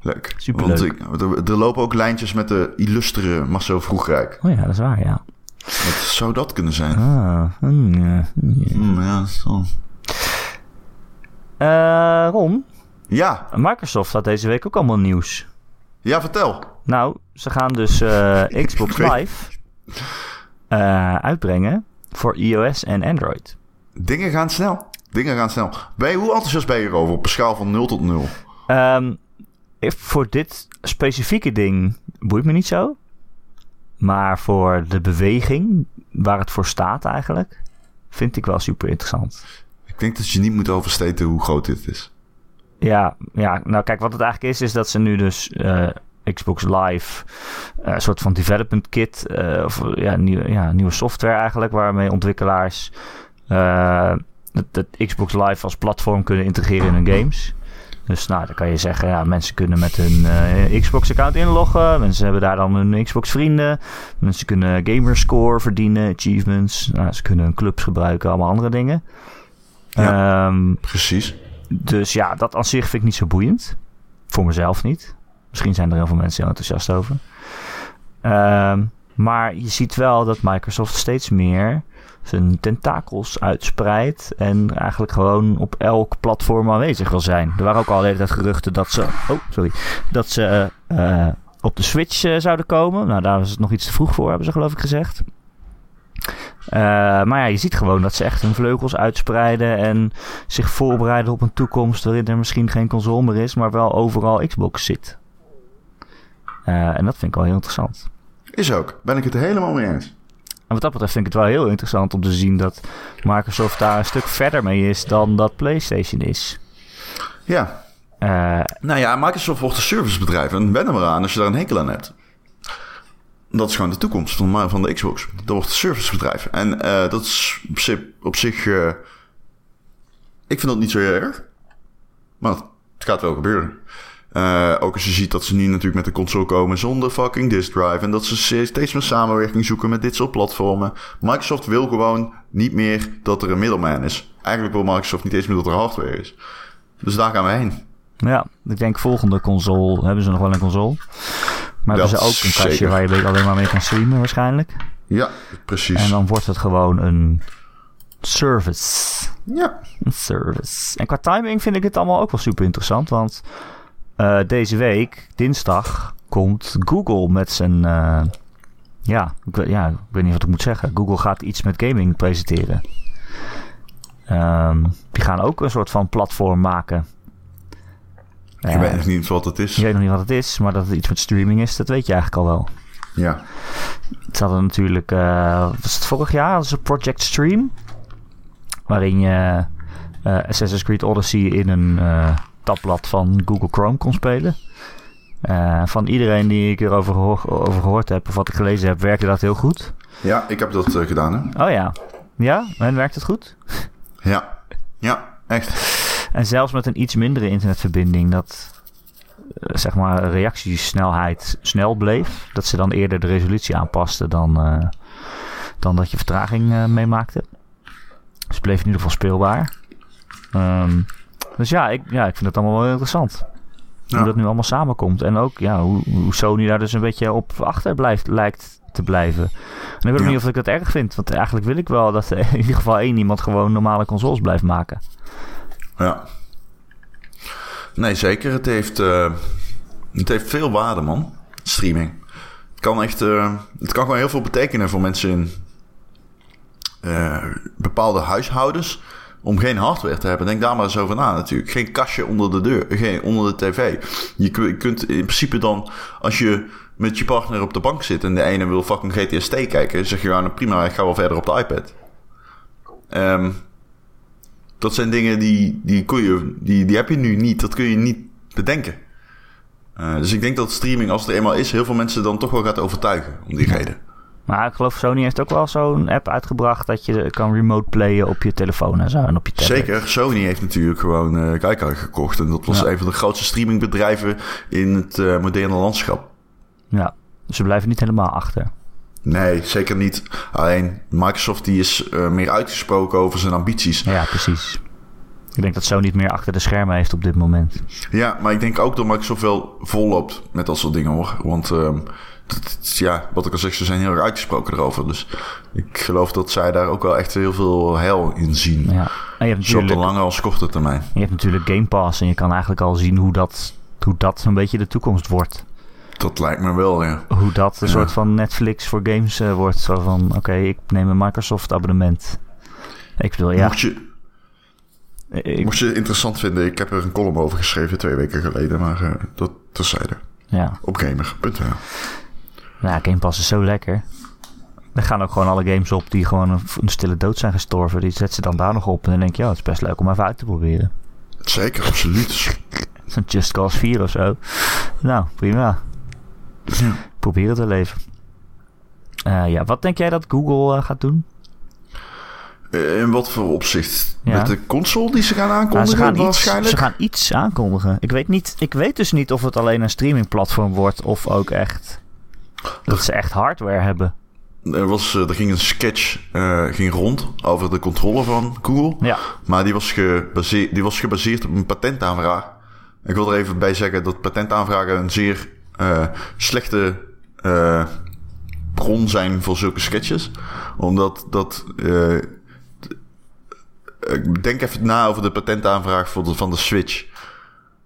Speaker 2: Leuk.
Speaker 1: Superleuk.
Speaker 2: Want ik- er, er lopen ook lijntjes met de illustere Marcel Vroegrijk.
Speaker 1: Oh ja, dat is waar, ja.
Speaker 2: Wat zou dat kunnen zijn?
Speaker 1: Ah, hmm, ja, hmm, ja.
Speaker 2: Hmm, ja, dat is wel-
Speaker 1: Eh, Ron,
Speaker 2: ja,
Speaker 1: Microsoft had deze week ook allemaal nieuws.
Speaker 2: ja, vertel.
Speaker 1: Nou, ze gaan dus eh, Xbox
Speaker 2: *laughs* Ik weet-
Speaker 1: Live eh, uitbrengen voor iOS en Android.
Speaker 2: Dingen gaan snel. Dingen gaan snel. Ben je, hoe enthousiast ben je erover op een schaal van 0 tot 0?
Speaker 1: Ehm, if- voor dit specifieke ding boeit me niet zo. Maar voor de beweging, waar het voor staat eigenlijk, vind ik wel super interessant.
Speaker 2: Ik denk dat je niet moet oversteten hoe groot dit is.
Speaker 1: Ja, ja, nou kijk, wat het eigenlijk is, is dat ze nu dus eh, Xbox Live, eh, een soort van development kit, eh, of ja, nieuw, ja, nieuwe software eigenlijk, waarmee ontwikkelaars eh, het, het Xbox Live als platform kunnen integreren in hun games. Dus nou, dan kan je zeggen, ja, mensen kunnen met hun eh, Xbox-account inloggen. Mensen hebben daar dan hun Xbox-vrienden. Mensen kunnen gamerscore verdienen, achievements. Nou, ze kunnen hun clubs gebruiken, allemaal andere dingen.
Speaker 2: Ja.
Speaker 1: Ehm,
Speaker 2: Precies.
Speaker 1: dus ja, dat aan zich vind ik niet zo boeiend. Voor mezelf niet. Misschien zijn er heel veel mensen heel enthousiast over. Ehm, maar je ziet wel dat Microsoft steeds meer zijn tentakels uitspreidt. En eigenlijk gewoon op elk platform aanwezig wil zijn. Er waren ook al de hele tijd geruchten dat ze. Oh, sorry. Dat ze eh, eh, op de Switch eh, zouden komen. Nou, daar was het nog iets te vroeg voor, hebben ze geloof ik gezegd. Eh, maar ja, je ziet gewoon dat ze echt hun vleugels uitspreiden. En zich voorbereiden op een toekomst waarin er misschien geen console meer is, maar wel overal Xbox zit. Eh, en dat vind ik wel heel interessant.
Speaker 2: Is ook. Ben ik het helemaal mee eens.
Speaker 1: En wat dat betreft vind ik het wel heel interessant om te zien dat Microsoft daar een stuk verder mee is dan dat PlayStation is.
Speaker 2: Ja.
Speaker 1: Eh,
Speaker 2: Nou ja, Microsoft wordt een servicebedrijf. En ben er maar aan als je daar een hekel aan hebt. Dat is gewoon de toekomst van, van de Xbox. Dat wordt een servicebedrijf. En eh, dat is op zich... Op zich eh, ik vind dat niet zo heel erg. Maar het gaat wel gebeuren. Eh, ook als je ziet dat ze nu natuurlijk met de console komen zonder fucking disk drive. En dat ze se- steeds meer samenwerking zoeken met dit soort platformen. Microsoft wil gewoon niet meer dat er een middleman is. Eigenlijk wil Microsoft niet eens meer dat er hardware is. Dus daar gaan we heen.
Speaker 1: nou Ja, ik denk volgende console hebben ze nog wel een console. Maar hebben
Speaker 2: Dat
Speaker 1: ze ook een kastje
Speaker 2: zeker.
Speaker 1: waar je alleen maar mee kan streamen waarschijnlijk.
Speaker 2: Ja, precies.
Speaker 1: En dan wordt het gewoon een service.
Speaker 2: Ja,
Speaker 1: Een service. En qua timing vind ik dit allemaal ook wel super interessant. Want eh, deze week, dinsdag, komt Google met zijn. eh, ja, ik, weet- ja, ik weet niet wat ik moet zeggen. Google gaat iets met gaming presenteren. Ehm, die gaan ook een soort van platform maken.
Speaker 2: ik
Speaker 1: Eh,
Speaker 2: weet nog niet wat het
Speaker 1: je
Speaker 2: is.
Speaker 1: weet nog niet wat het is, maar dat het iets met streaming is, dat weet je eigenlijk al wel.
Speaker 2: Ja.
Speaker 1: Ze hadden natuurlijk, eh, was het vorig jaar, hadden ze Project Stream. Waarin je eh, Assassin's Creed Odyssey in een eh, tabblad van Google Chrome kon spelen. Eh, van iedereen die ik erover gehoor- over gehoord heb of wat ik gelezen heb, werkte dat heel goed.
Speaker 2: Ja, ik heb dat eh, gedaan, hè.
Speaker 1: Oh ja. Ja, en werkt het goed?
Speaker 2: Ja. Ja, echt.
Speaker 1: En zelfs met een iets mindere internetverbinding, dat eh, zeg maar reactiesnelheid snel bleef. Dat ze dan eerder de resolutie aanpasten dan, eh, dan dat je vertraging eh, meemaakte. Dus het bleef in ieder geval speelbaar. Ehm, dus ja ik, ja, ik vind het allemaal wel interessant.
Speaker 2: Ja.
Speaker 1: Hoe dat nu allemaal samenkomt. En ook ja, hoe, hoe Sony daar dus een beetje op achter blijft, lijkt te blijven. En ik weet ook
Speaker 2: Ja.
Speaker 1: niet of ik dat erg vind. Want eigenlijk wil ik wel dat er in ieder geval één iemand gewoon normale consoles blijft maken.
Speaker 2: Ja. Nee, zeker. Het heeft, eh, het heeft veel waarde, man. Streaming. Het kan echt... eh, het kan gewoon heel veel betekenen voor mensen in... eh, bepaalde huishoudens... om geen hardware te hebben. Denk daar maar eens over na, natuurlijk. Geen kastje onder de deur. Geen, onder de tv. Je kun- je kunt in principe dan... als je met je partner op de bank zit... en de ene wil fucking GTST kijken... zeg je gewoon, nou, prima, ik ga wel verder op de iPad. Ehm... Dat zijn dingen die, die, kun je, die, die heb je nu niet. Dat kun je niet bedenken. Eh, dus ik denk dat streaming, als het er eenmaal is, heel veel mensen dan toch wel gaat overtuigen. Om die reden.
Speaker 1: Maar ik geloof Sony heeft ook wel zo'n app uitgebracht dat je kan remote playen op je telefoon en zo en op je tablet.
Speaker 2: Zeker, Sony heeft natuurlijk gewoon eh Gaikai gekocht. En dat was
Speaker 1: Ja.
Speaker 2: een van de grootste streamingbedrijven in het eh, moderne landschap.
Speaker 1: Ja, dus ze blijven niet helemaal achter.
Speaker 2: Nee, zeker niet. Alleen Microsoft die is eh, meer uitgesproken over zijn ambities.
Speaker 1: Ja, precies. Ik denk dat Sony het meer achter de schermen heeft op dit moment.
Speaker 2: Ja, maar ik denk ook dat Microsoft wel volloopt met dat soort dingen hoor. Want ehm, dat- dat- ja, wat ik al zeg, ze zijn heel erg uitgesproken erover. Dus ik geloof dat zij daar ook wel echt heel veel hel in zien.
Speaker 1: Ja. En je hebt
Speaker 2: Zowel op de
Speaker 1: natuurlijk,
Speaker 2: lange als korte termijn.
Speaker 1: je hebt natuurlijk Game Pass en je kan eigenlijk al zien hoe dat, hoe dat een beetje de toekomst wordt.
Speaker 2: Dat lijkt me wel, ja.
Speaker 1: Hoe dat een
Speaker 2: Ja.
Speaker 1: soort van Netflix voor games eh, wordt. Zo van, oké, ik neem een Microsoft abonnement. Ik bedoel, ja.
Speaker 2: Mocht, je,
Speaker 1: Ik,
Speaker 2: mocht je het interessant vinden, ik heb er een column over geschreven twee weken geleden. Maar eh, dat terzijde.
Speaker 1: ja.
Speaker 2: Op gamer.nl.
Speaker 1: Nou, Game Pass is zo lekker. Er gaan ook gewoon alle games op die gewoon een, een stille dood zijn gestorven. Die zet ze dan daar nog op. En dan denk je, ja, het is best leuk om even uit te proberen. *laughs*
Speaker 2: Zeker, absoluut.
Speaker 1: Zo'n Just Cause 4 of zo. Nou, prima. Hm.
Speaker 2: Ja.
Speaker 1: Probeer het wel even. Eh, ja, wat denk jij dat Google eh, gaat doen?
Speaker 2: Eh, In wat voor opzicht?
Speaker 1: Ja.
Speaker 2: Met de console die ze gaan
Speaker 1: Nou, ze,
Speaker 2: aankondigen
Speaker 1: gaan iets,
Speaker 2: waarschijnlijk?
Speaker 1: ze gaan iets aankondigen. Ik weet, niet, ik weet dus niet of het alleen een streamingplatform wordt of ook echt... Dat ze echt hardware hebben.
Speaker 2: Er, was, eh, er ging een sketch eh, ging rond over de controle van Google.
Speaker 1: Ja,
Speaker 2: Maar die was, gebaseerd, die was gebaseerd op een patentaanvraag. Ik wil er even bij zeggen dat patentaanvragen een zeer eh, slechte eh, bron zijn voor zulke sketches. Omdat dat. eh, t- ik denk even na over de patentaanvraag voor de- van de Switch.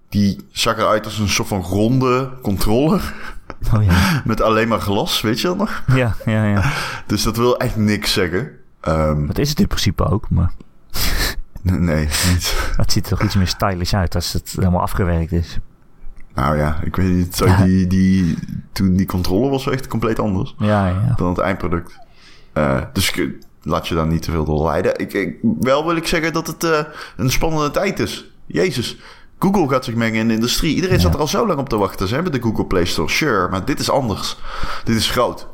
Speaker 2: Die zag eruit als een soort van ronde controller. *laughs*
Speaker 1: oh ja.
Speaker 2: Met alleen maar glas, weet je dat nog?
Speaker 1: Ja, ja, ja.
Speaker 2: Dus dat wil echt niks zeggen. Ehm,
Speaker 1: Dat is het in principe ook, maar...
Speaker 2: nee, niet. *laughs*
Speaker 1: Het ziet er toch iets meer stylish uit als het helemaal afgewerkt is.
Speaker 2: Nou ja, ik weet niet. Zo die, die, toen die controle was wel echt compleet anders
Speaker 1: Ja, ja.
Speaker 2: dan het eindproduct. Eh, dus ik- laat je daar niet te veel door leiden. Ik, ik- wel wil ik zeggen dat het eh, een spannende tijd is. Jezus. Google gaat zich mengen in de industrie. Iedereen zat er al zo lang op te wachten. Ze hebben de Google Play Store, sure. Maar dit is anders. Dit is groot.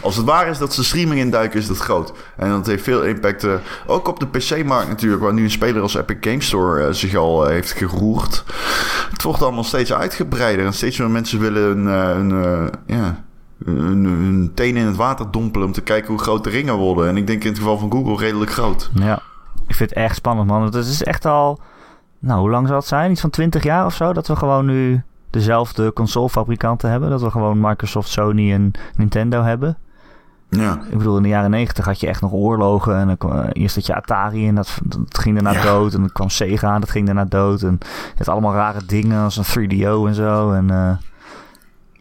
Speaker 2: Als het waar is dat ze streaming induiken, is dat groot. En dat heeft veel impact. eh, ook op de PC-markt natuurlijk, waar nu een speler als Epic Game Store eh, zich al eh, heeft geroerd. Het wordt allemaal steeds uitgebreider. En steeds meer mensen willen een, eh, een, eh, ja, hun, hun tenen in het water dompelen om te kijken hoe groot de ringen worden. En ik denk in het geval van Google redelijk groot.
Speaker 1: ja. Ik vind het echt spannend, man. Want Het is echt al nou, hoe lang zal het zijn? Iets van 20 jaar of zo? Dat we gewoon nu dezelfde consolefabrikanten hebben. Dat we gewoon Microsoft, Sony en Nintendo hebben.
Speaker 2: Ja.
Speaker 1: Ik bedoel, in de jaren 90 had je echt nog oorlogen. En dan kwam, eh, eerst had je Atari en dat, dat ging daarna
Speaker 2: Ja.
Speaker 1: dood. En dan kwam Sega en dat ging daarna dood. En het allemaal rare dingen als een 3DO en zo. En eh,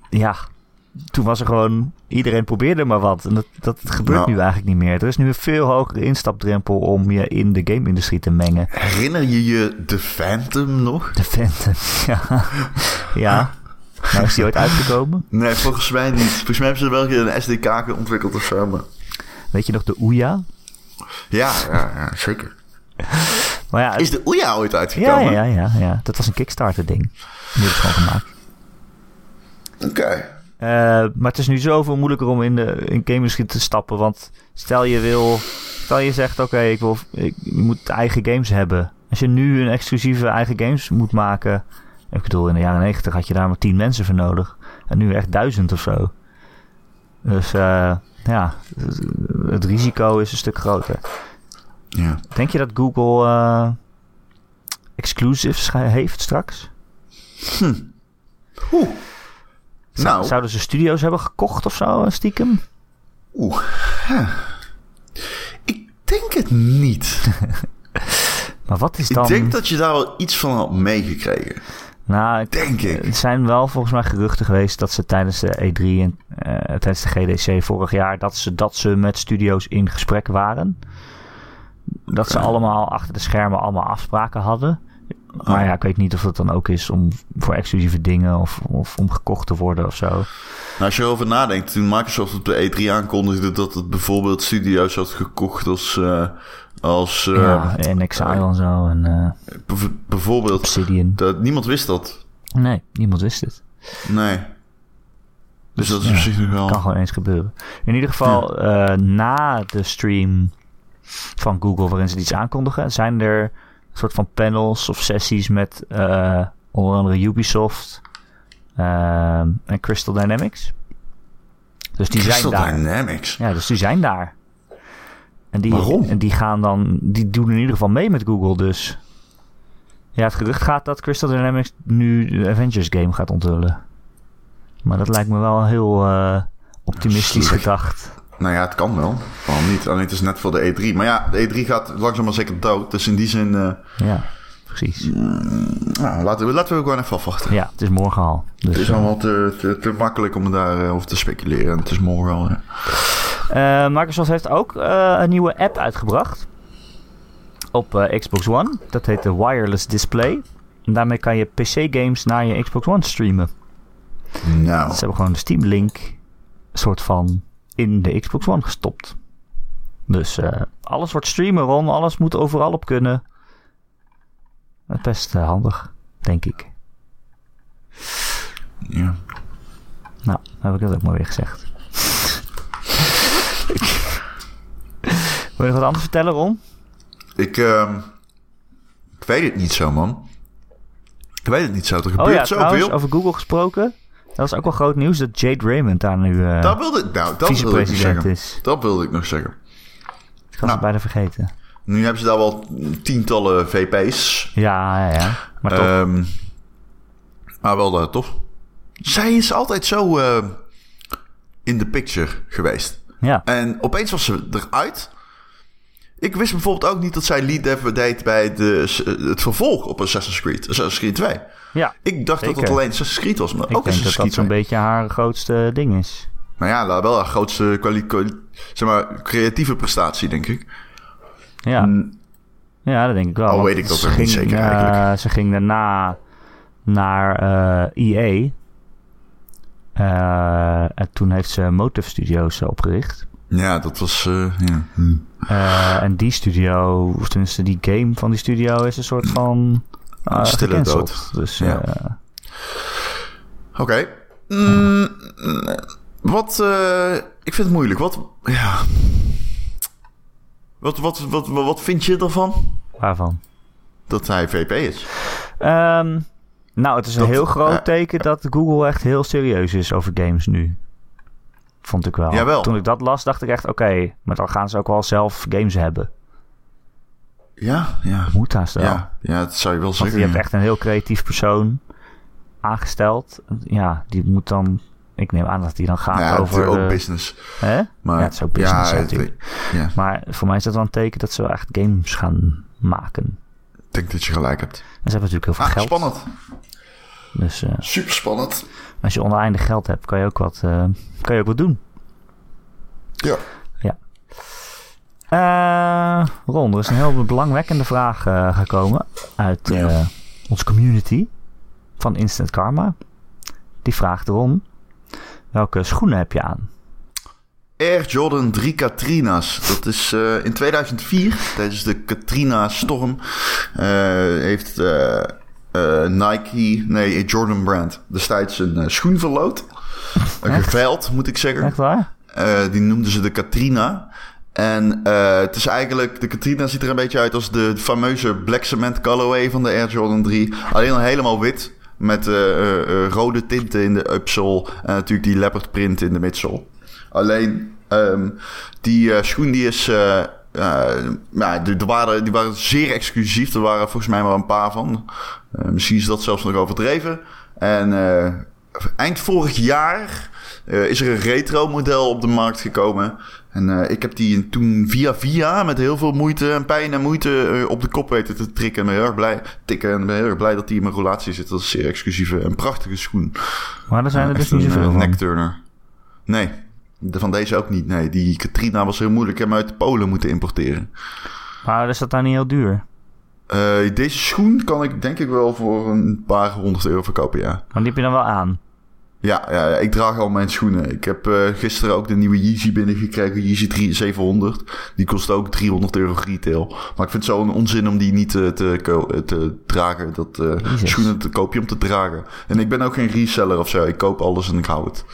Speaker 1: ja, toen was er gewoon... Iedereen probeerde maar wat. En dat, dat gebeurt
Speaker 2: Ja.
Speaker 1: nu eigenlijk niet meer. Er is nu een veel hogere instapdrempel om je in de game-industrie te mengen.
Speaker 2: Herinner je je The Phantom nog?
Speaker 1: De Phantom, *laughs* ja. ja. Nou is die ooit uitgekomen.
Speaker 2: Nee, volgens mij niet. Volgens mij hebben ze wel een keer een SDK ontwikkeld of zo. maar-
Speaker 1: Weet je nog de Ouya?
Speaker 2: Ja, ja, ja, zeker.
Speaker 1: Maar ja, het-
Speaker 2: Is de Ouya ooit
Speaker 1: ja,
Speaker 2: uitgekomen?
Speaker 1: ja, ja, ja, ja. Dat was een Kickstarter ding. Die hebben ze gewoon gemaakt.
Speaker 2: Oké.
Speaker 1: Eh, maar het is nu zoveel moeilijker om in de in game-industrie te stappen. Want stel je wil... Stel je zegt, oké, ik, wil, ik moet eigen games hebben. Als je nu een exclusieve eigen games moet maken... Ik bedoel, in de jaren 90 had je daar maar 10 mensen voor nodig. En nu echt duizend of zo. Dus eh, ja, het- het risico is een stuk groter.
Speaker 2: Ja.
Speaker 1: Denk je dat Google eh, exclusives ge- heeft straks?
Speaker 2: Oeh. Nou,
Speaker 1: Zouden ze studio's hebben gekocht of zo, eh, stiekem?
Speaker 2: oeh. Huh. Ik denk het niet.
Speaker 1: *laughs* Maar wat is dan...
Speaker 2: Ik denk dat je daar wel iets van had meegekregen.
Speaker 1: Nou, ik-
Speaker 2: Denk ik.
Speaker 1: er zijn wel volgens mij geruchten geweest dat ze tijdens de E3 en eh, tijdens de GDC vorig jaar... Dat ze, dat ze met studio's in gesprek waren. Dat ze
Speaker 2: Oké.
Speaker 1: allemaal achter de schermen allemaal afspraken hadden. Maar ja, ik weet niet of dat dan ook is om voor exclusieve dingen of, of om gekocht te worden of zo.
Speaker 2: Nou, als je erover nadenkt, toen Microsoft op de E3 aankondigde dat het bijvoorbeeld studio's had gekocht als, eh, als eh,
Speaker 1: ja, en Exile en zo en eh,
Speaker 2: bijv- bijvoorbeeld,
Speaker 1: Obsidian.
Speaker 2: dat, niemand wist dat.
Speaker 1: Nee, niemand wist het.
Speaker 2: Nee. Dus dat is
Speaker 1: ja,
Speaker 2: op zich nog
Speaker 1: Kan
Speaker 2: wel.
Speaker 1: gewoon eens gebeuren. In ieder geval, eh, na de stream van Google waarin ze iets aankondigen, zijn er een soort van panels of sessies met eh, onder andere Ubisoft ehm, en Crystal Dynamics. Dus die
Speaker 2: Crystal
Speaker 1: zijn daar.
Speaker 2: Dynamics.
Speaker 1: Ja, dus die zijn daar. En die,
Speaker 2: Waarom?
Speaker 1: En die gaan dan, die doen in ieder geval mee met Google dus. Ja, het gerucht gaat dat Crystal Dynamics nu de Avengers game gaat onthullen. Maar dat lijkt me wel heel eh, optimistisch
Speaker 2: Slecht.
Speaker 1: gedacht.
Speaker 2: Nou ja, het kan wel. Waarom niet? Alleen het is net voor de E3. Maar ja, de E3 gaat langzaam maar zeker dood. Dus in die zin, eh,
Speaker 1: Ja, precies.
Speaker 2: nou, laten, we, laten we gewoon even afwachten.
Speaker 1: Ja, het is morgen al. Dus,
Speaker 2: Het is allemaal te, te, te makkelijk om daarover te speculeren. Het is morgen al. ja.
Speaker 1: eh, Microsoft heeft ook eh, een nieuwe app uitgebracht. Op eh, Xbox One. Dat heet de Wireless Display. En daarmee kan je PC-games naar je Xbox One streamen.
Speaker 2: Nou,
Speaker 1: Ze hebben gewoon de Steam Link soort van in de Xbox One gestopt. Dus eh, alles wordt streamen, Ron. Alles moet overal op kunnen. Dat is Best eh, handig, denk ik.
Speaker 2: ja.
Speaker 1: Nou, dan heb ik dat ook maar weer gezegd. *laughs* Wil je nog wat anders vertellen, Ron?
Speaker 2: Ik, ehm, ik weet het niet zo, man. Ik weet het niet zo. Er gebeurt
Speaker 1: Oh ja, trouwens,
Speaker 2: zoveel.
Speaker 1: over Google gesproken. Dat was ook wel groot nieuws dat Jade Raymond daar nu eh,
Speaker 2: Dat wilde ik, nou, dat wilde ik nog
Speaker 1: vicepresident
Speaker 2: zeggen.
Speaker 1: is.
Speaker 2: Dat wilde ik nog zeggen.
Speaker 1: Ik had
Speaker 2: Nou.
Speaker 1: het bijna vergeten.
Speaker 2: Nu hebben ze daar wel tientallen VP's.
Speaker 1: Ja, ja, ja. Maar toch,
Speaker 2: Ehm, maar wel eh, tof. Zij is altijd zo eh, in de picture geweest.
Speaker 1: ja.
Speaker 2: En opeens was ze eruit. Ik wist bijvoorbeeld ook niet dat zij lead dev deed bij de, het vervolg op Assassin's Creed. Assassin's Creed 2.
Speaker 1: ja.
Speaker 2: Ik dacht dat
Speaker 1: Zeker.
Speaker 2: dat alleen Assassin's Creed was, maar
Speaker 1: Ik
Speaker 2: ook
Speaker 1: denk
Speaker 2: Assassin's
Speaker 1: dat dat zo'n
Speaker 2: Creed 2.
Speaker 1: beetje haar grootste ding is.
Speaker 2: Maar ja, la- wel haar grootste kwali- kwali- zeg maar, creatieve prestatie, denk ik. Mm,
Speaker 1: Ja, ja dat denk ik wel.
Speaker 2: Al
Speaker 1: want
Speaker 2: weet ik dat
Speaker 1: ze
Speaker 2: ook niet zeker
Speaker 1: eh,
Speaker 2: eigenlijk.
Speaker 1: ze ging daarna naar eh EA. Eh, en toen heeft ze Motive Studios eh, opgericht.
Speaker 2: Ja, dat was... eh, ja. Hm.
Speaker 1: Eh, en die studio, of tenminste die game van die studio, is een soort van. eh,
Speaker 2: Stille
Speaker 1: gecanceld.
Speaker 2: dood.
Speaker 1: Dus
Speaker 2: Ja.
Speaker 1: eh,
Speaker 2: Oké. Mm, Wat... eh, ik vind het moeilijk. Wat... Ja. Wat, wat, wat, wat, wat vind je ervan?
Speaker 1: waarvan?
Speaker 2: Dat hij VP is.
Speaker 1: Ehm, nou, het is een
Speaker 2: Dat-
Speaker 1: heel groot
Speaker 2: eh,
Speaker 1: teken dat Google echt heel serieus is over games nu. Vond ik wel.
Speaker 2: Jawel.
Speaker 1: Toen ik dat las, dacht ik echt, oké, maar dan gaan ze ook wel zelf games hebben.
Speaker 2: Ja, ja.
Speaker 1: Moet haast wel.
Speaker 2: Ja, ja, dat zou je wel
Speaker 1: Want
Speaker 2: zeggen.
Speaker 1: je hebt
Speaker 2: ja.
Speaker 1: echt een heel creatief persoon aangesteld. Ja, die moet dan... Ik neem aan dat die dan gaat
Speaker 2: ja, het is
Speaker 1: over...
Speaker 2: ook
Speaker 1: de-
Speaker 2: business.
Speaker 1: hè?
Speaker 2: Maar,
Speaker 1: Ja, het is ook business
Speaker 2: het-
Speaker 1: natuurlijk.
Speaker 2: ja,
Speaker 1: Maar voor mij is dat wel een teken dat ze wel echt games gaan maken.
Speaker 2: ik denk dat je gelijk hebt.
Speaker 1: En ze hebben natuurlijk heel veel
Speaker 2: Ah,
Speaker 1: geld.
Speaker 2: spannend.
Speaker 1: Dus eh,
Speaker 2: Super spannend.
Speaker 1: als je oneindig geld hebt, kan je ook wat, eh, kan je ook wat doen.
Speaker 2: Ja.
Speaker 1: Eh Ron, er is een heel belangwekkende vraag eh, gekomen uit
Speaker 2: Ja.
Speaker 1: eh, onze community van Instant Karma. Die vraagt Ron, welke schoenen heb je aan?
Speaker 2: Air Jordan 3 Katrina's. Dat is eh, in 2004, tijdens de Katrina-storm, eh, heeft eh, eh, Nike, nee, Jordan Brand, destijds een eh, schoen verloot. Een
Speaker 1: Echt?
Speaker 2: geveild, moet ik zeggen.
Speaker 1: Echt waar?
Speaker 2: Eh, die noemden ze de Katrina. En eh, het is eigenlijk, de Katrina ziet er een beetje uit als de fameuze Black Cement Colorway van de Air Jordan 3. Alleen al helemaal wit, met eh, eh, eh, rode tinten in de upsole en natuurlijk die leopard print in de midsole. Alleen, ehm, die eh, schoen die is, eh, eh, ja, die, die waren, die waren zeer exclusief. Er waren volgens mij maar een paar van. Eh, misschien is dat zelfs nog overdreven. En eh, eind vorig jaar eh, is er een retro model op de markt gekomen. En eh, ik heb die toen via via met heel veel moeite en pijn en moeite eh, op de kop weten te trikken. En ben heel erg blij, tikken. En ben heel erg blij dat die in mijn relatie zit. Dat is een zeer exclusieve en prachtige schoen.
Speaker 1: Maar er zijn er
Speaker 2: Eh,
Speaker 1: dus
Speaker 2: echt
Speaker 1: niet
Speaker 2: een,
Speaker 1: zoveel
Speaker 2: eh,
Speaker 1: van.
Speaker 2: neckturner. Nee, de- van deze ook niet. Nee, die Katrina was heel moeilijk. Ik heb hem uit Polen moeten importeren.
Speaker 1: Maar is dat dan niet heel duur?
Speaker 2: Eh, deze schoen kan ik denk ik wel voor een paar honderd euro verkopen, ja.
Speaker 1: Want die heb je dan wel aan.
Speaker 2: Ja, ja, ja, ik draag al mijn schoenen. Ik heb eh, gisteren ook de nieuwe Yeezy binnengekregen, Yeezy 3 700. Die kost ook 300 euro retail. Maar ik vind het zo'n onzin om die niet eh, te, ko- te dragen. Dat, eh,
Speaker 1: Jezus.
Speaker 2: schoenen te koop je om te dragen. En ik ben ook geen reseller of zo. Ik koop alles en ik hou het.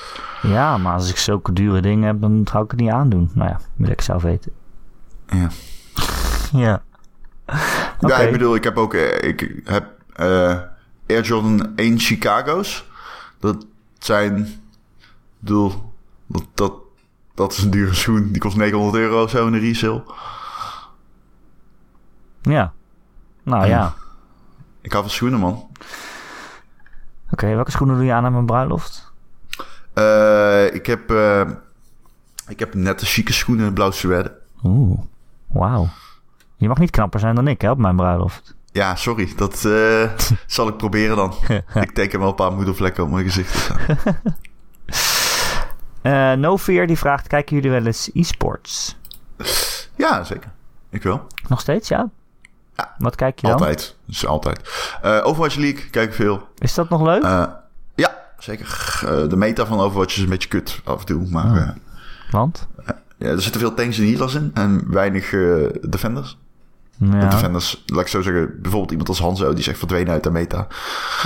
Speaker 1: Ja, maar als ik zulke dure dingen heb, dan ga ik het niet aandoen. Nou ja, moet ik zelf weten.
Speaker 2: Ja.
Speaker 1: Ja. Oké.
Speaker 2: Ja, ik bedoel, ik heb ook eh, ik heb, eh, Air Jordan 1 Chicago's. Dat zijn, ik bedoel, dat, dat, dat is een dure schoen. Die kost 900 euro of zo in de resale.
Speaker 1: Ja. Nou
Speaker 2: Ja.
Speaker 1: ja.
Speaker 2: Ik hou van schoenen, man.
Speaker 1: Oké, welke schoenen doe je aan aan mijn bruiloft?
Speaker 2: Eh, ik, heb, eh, ik heb nette chique schoenen, blauw suède.
Speaker 1: Oeh, wauw. Je mag niet knapper zijn dan ik hè, op mijn bruiloft.
Speaker 2: Ja, sorry. Dat eh, zal ik proberen dan. ik teken wel een paar moedervlekken op mijn gezicht.
Speaker 1: Eh no Fear die vraagt, kijken jullie wel eens e-sports?
Speaker 2: ja, zeker. Ik wel.
Speaker 1: Nog steeds, ja?
Speaker 2: Ja,
Speaker 1: Wat kijk je dan?
Speaker 2: Altijd. Dus altijd. Eh, Overwatch League kijk ik veel.
Speaker 1: Is dat nog leuk?
Speaker 2: Eh, ja, zeker. Eh, de meta van Overwatch is een beetje kut af en toe. Maar eh,
Speaker 1: Want?
Speaker 2: ja, er zitten veel tanks en healers in. En weinig eh, defenders. De
Speaker 1: Ja.
Speaker 2: defenders, laat ik zo zeggen, bijvoorbeeld iemand als Hanzo, die is echt verdwenen uit de meta.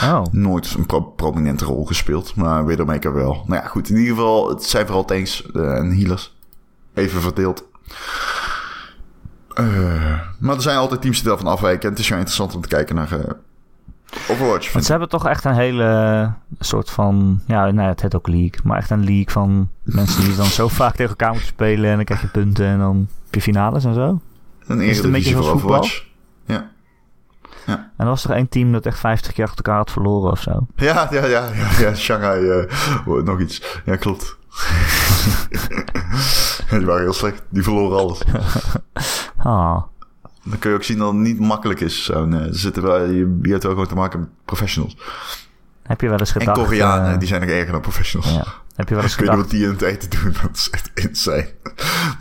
Speaker 1: Oh,
Speaker 2: nooit een pro- prominente rol gespeeld, maar Widowmaker wel. Nou ja, goed, in ieder geval, het zijn vooral tanks eh, en healers. Even verdeeld. Eh, maar er zijn altijd teams die daarvan afwijken. En het is wel interessant om te kijken naar eh, Overwatch.
Speaker 1: want
Speaker 2: vind
Speaker 1: ze hebben toch echt een hele eh, soort van... Ja, nou ja, het heet ook league. Maar echt een league van mensen die dan zo vaak tegen elkaar moeten spelen. En dan krijg je punten en dan heb je finales en zo.
Speaker 2: ik. Een
Speaker 1: is het een beetje
Speaker 2: eredivisie voor
Speaker 1: zoals voetbal?
Speaker 2: Overwatch. Ja.
Speaker 1: En er was toch één team dat echt 50 keer achter elkaar had verloren of
Speaker 2: *laughs*
Speaker 1: zo.
Speaker 2: Ja, ja, ja, ja, ja, Shanghai, eh, oh, nog iets. Ja, klopt. *laughs* die waren heel slecht. Die verloren alles.
Speaker 1: *laughs* Ah,
Speaker 2: Dan kun je ook zien dat het niet makkelijk is. Zo'n, eh, er zitten wel, je, je hebt wel gewoon te maken met professionals.
Speaker 1: heb je wel eens
Speaker 2: En
Speaker 1: gedacht...
Speaker 2: Koreanen,
Speaker 1: eh,
Speaker 2: die zijn nog erger dan professionals.
Speaker 1: ja. Heb je wel eens
Speaker 2: *laughs* Ik weet
Speaker 1: gedacht...
Speaker 2: niet wat die in het eten doen. *laughs* Dat is echt insane.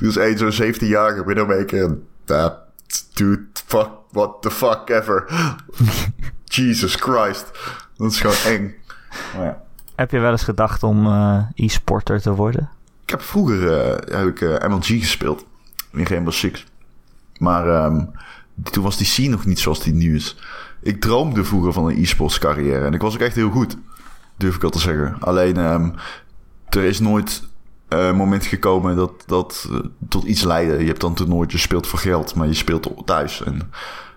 Speaker 2: Er is één zo'n 17-jarige Widowmaker. en, eh, Dude, fuck, what the fuck
Speaker 1: *laughs*
Speaker 2: ever. Jesus Christ. Dat is gewoon eng.
Speaker 1: Oh
Speaker 2: Maar ja.
Speaker 1: Heb je wel eens gedacht om eh, e-sporter te worden?
Speaker 2: Ik heb vroeger eh, heb ik, eh, MLG gespeeld. In Rainbow Six. Maar ehm, toen was die scene nog niet zoals die nu is. Ik droomde vroeger van een e-sports carrière. En ik was ook echt heel goed. Durf ik wel te zeggen. Alleen ehm, er is nooit eh, een moment gekomen dat, dat eh, tot iets leidde. Je hebt dan toernooitjes, je speelt voor geld, maar je speelt thuis. En,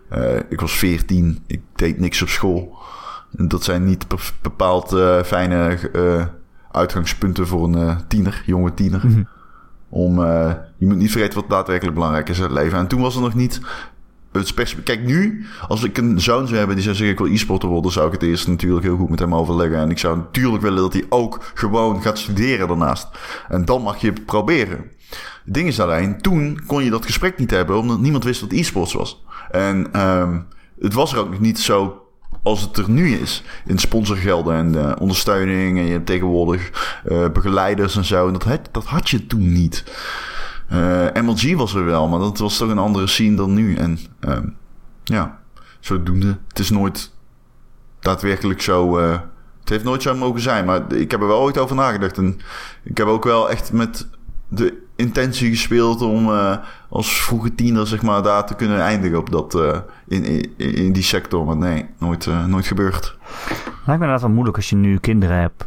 Speaker 2: eh, ik was 14, ik deed niks op school. En dat zijn niet be- bepaald eh, fijne eh, uitgangspunten voor een eh, tiener, jonge tiener.
Speaker 1: Mhm.
Speaker 2: Om, eh, je moet niet vergeten wat daadwerkelijk belangrijk is in het leven. En toen was er nog niet het pers- Kijk, nu, als ik een zoon zou hebben die zou zeggen: Ik wil e-sporter worden, zou ik het eerst natuurlijk heel goed met hem overleggen. En ik zou natuurlijk willen dat hij ook gewoon gaat studeren daarnaast. En dan mag je het proberen. Het ding is alleen, toen kon je dat gesprek niet hebben, omdat niemand wist wat e-sports was. En ehm, het was er ook nog niet zo als het er nu is. In sponsorgelden en eh, ondersteuning. En je hebt tegenwoordig eh, begeleiders en zo. En dat, had- dat had je toen niet. Eh, MLG was er wel, maar dat was toch een andere scene dan nu. En ehm, ja, zodoende. Het is nooit daadwerkelijk zo. eh, het heeft nooit zo mogen zijn, maar ik heb er wel ooit over nagedacht. En ik heb ook wel echt met de intentie gespeeld om eh, als vroege tiener zeg maar, daar te kunnen eindigen op dat, eh, in, in, in die sector. Maar nee, nooit, eh, nooit gebeurd.
Speaker 1: Lijkt me inderdaad wel moeilijk als je nu kinderen hebt.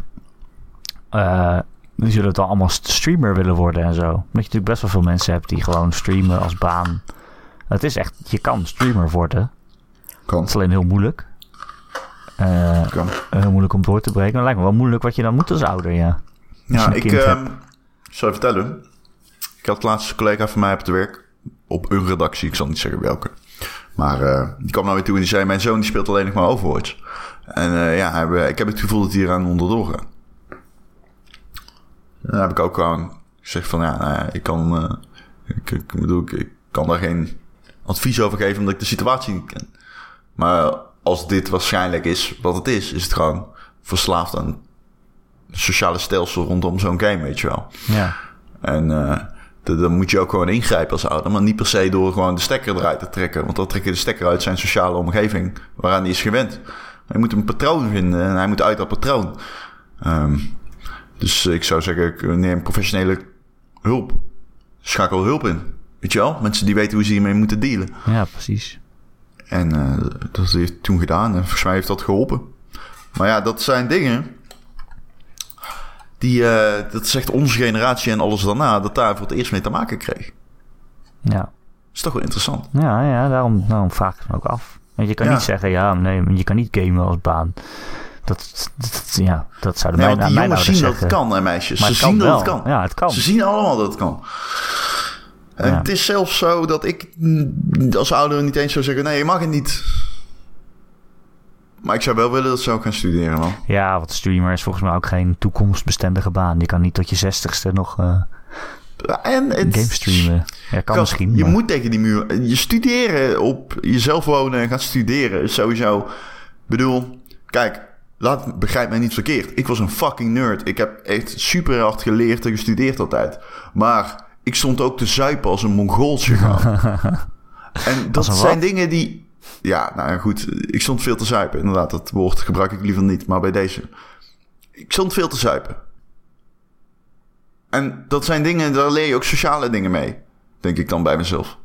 Speaker 1: Eh, die zullen dan allemaal st- streamer willen worden en zo. Omdat je natuurlijk best wel veel mensen hebt die gewoon streamen als baan. Het is echt, je kan streamer worden.
Speaker 2: Kan.
Speaker 1: Het is alleen heel moeilijk. Eh,
Speaker 2: kan.
Speaker 1: heel moeilijk om door te breken. Maar het lijkt me wel moeilijk wat je dan moet als ouder, ja. Als je
Speaker 2: Ja,
Speaker 1: een
Speaker 2: ik
Speaker 1: kind
Speaker 2: ehm,
Speaker 1: hebt.
Speaker 2: zal je vertellen. Ik had laatst een collega van mij op het werk. Op een redactie, ik zal niet zeggen welke. Maar eh, die kwam naar me toe en die zei... Mijn zoon die speelt alleen nog maar Overwatch. En eh, ja, hij, eh, ik heb het gevoel dat hij eraan onderdoor gaat. En dan heb ik ook gewoon gezegd van... Ja, nou ja, ik kan... eh, ik, ik bedoel, ik, ik kan daar geen advies over geven... omdat ik de situatie niet ken. Maar als dit waarschijnlijk is wat het is... is het gewoon verslaafd aan sociale stelsel rondom zo'n game, weet je wel.
Speaker 1: Ja.
Speaker 2: En eh d- dan moet je ook gewoon ingrijpen als ouder. Maar niet per se door gewoon de stekker eruit te trekken. Want dan trek je de stekker uit zijn sociale omgeving waaraan hij is gewend. Hij moet een patroon vinden en hij moet uit dat patroon. Ehm, dus ik zou zeggen, ik neem professionele hulp. Schakel hulp in. Weet je wel? Mensen die weten hoe ze hiermee moeten dealen.
Speaker 1: ja, precies.
Speaker 2: En eh, dat heeft hij toen gedaan. En volgens mij heeft dat geholpen. Maar ja, dat zijn dingen. Die, eh, dat is echt onze generatie en alles daarna. Dat daar voor het eerst mee te maken kreeg. Dat
Speaker 1: Ja.
Speaker 2: is toch wel interessant.
Speaker 1: Ja, ja daarom, daarom vraag ik het me ook af. Want je kan
Speaker 2: Ja.
Speaker 1: niet zeggen, ja, nee, maar je kan niet gamen als baan. Dat, dat- ja, dat zouden
Speaker 2: Nee,
Speaker 1: mijn,
Speaker 2: want die
Speaker 1: mijn
Speaker 2: jongens zien
Speaker 1: ouders
Speaker 2: dat het
Speaker 1: zeggen.
Speaker 2: kan, hè, meisjes.
Speaker 1: Maar
Speaker 2: Ze
Speaker 1: het kan
Speaker 2: zien dat het
Speaker 1: wel.
Speaker 2: kan.
Speaker 1: Ja, het kan.
Speaker 2: Ze zien allemaal dat het kan. En
Speaker 1: Ja.
Speaker 2: het is zelfs zo dat ik mm, als ouder niet eens zou zeggen: nee, je mag het niet. Maar ik zou wel willen dat ze ook gaan studeren, man.
Speaker 1: Ja, want streamer is volgens mij ook geen toekomstbestendige baan. Je kan niet tot je zestigste nog eh
Speaker 2: En het,
Speaker 1: game streamen. Ja, kan
Speaker 2: Gast,
Speaker 1: misschien.
Speaker 2: Je
Speaker 1: maar-
Speaker 2: moet tegen die muur. Je studeren op jezelf wonen en gaan studeren is sowieso. Ik bedoel, kijk, laat, begrijp mij niet verkeerd. Ik was een fucking nerd. Ik heb echt super hard geleerd en gestudeerd altijd. Maar ik stond ook te zuipen als een Mongooltje. gewoon.
Speaker 1: *laughs*
Speaker 2: en dat
Speaker 1: een wat?
Speaker 2: zijn dingen die. Ja, nou ja, goed. Ik stond veel te zuipen. Inderdaad, dat woord gebruik ik liever niet. Maar bij deze. Ik stond veel te zuipen. En dat zijn dingen, daar leer je ook sociale dingen mee. Denk ik dan bij mezelf.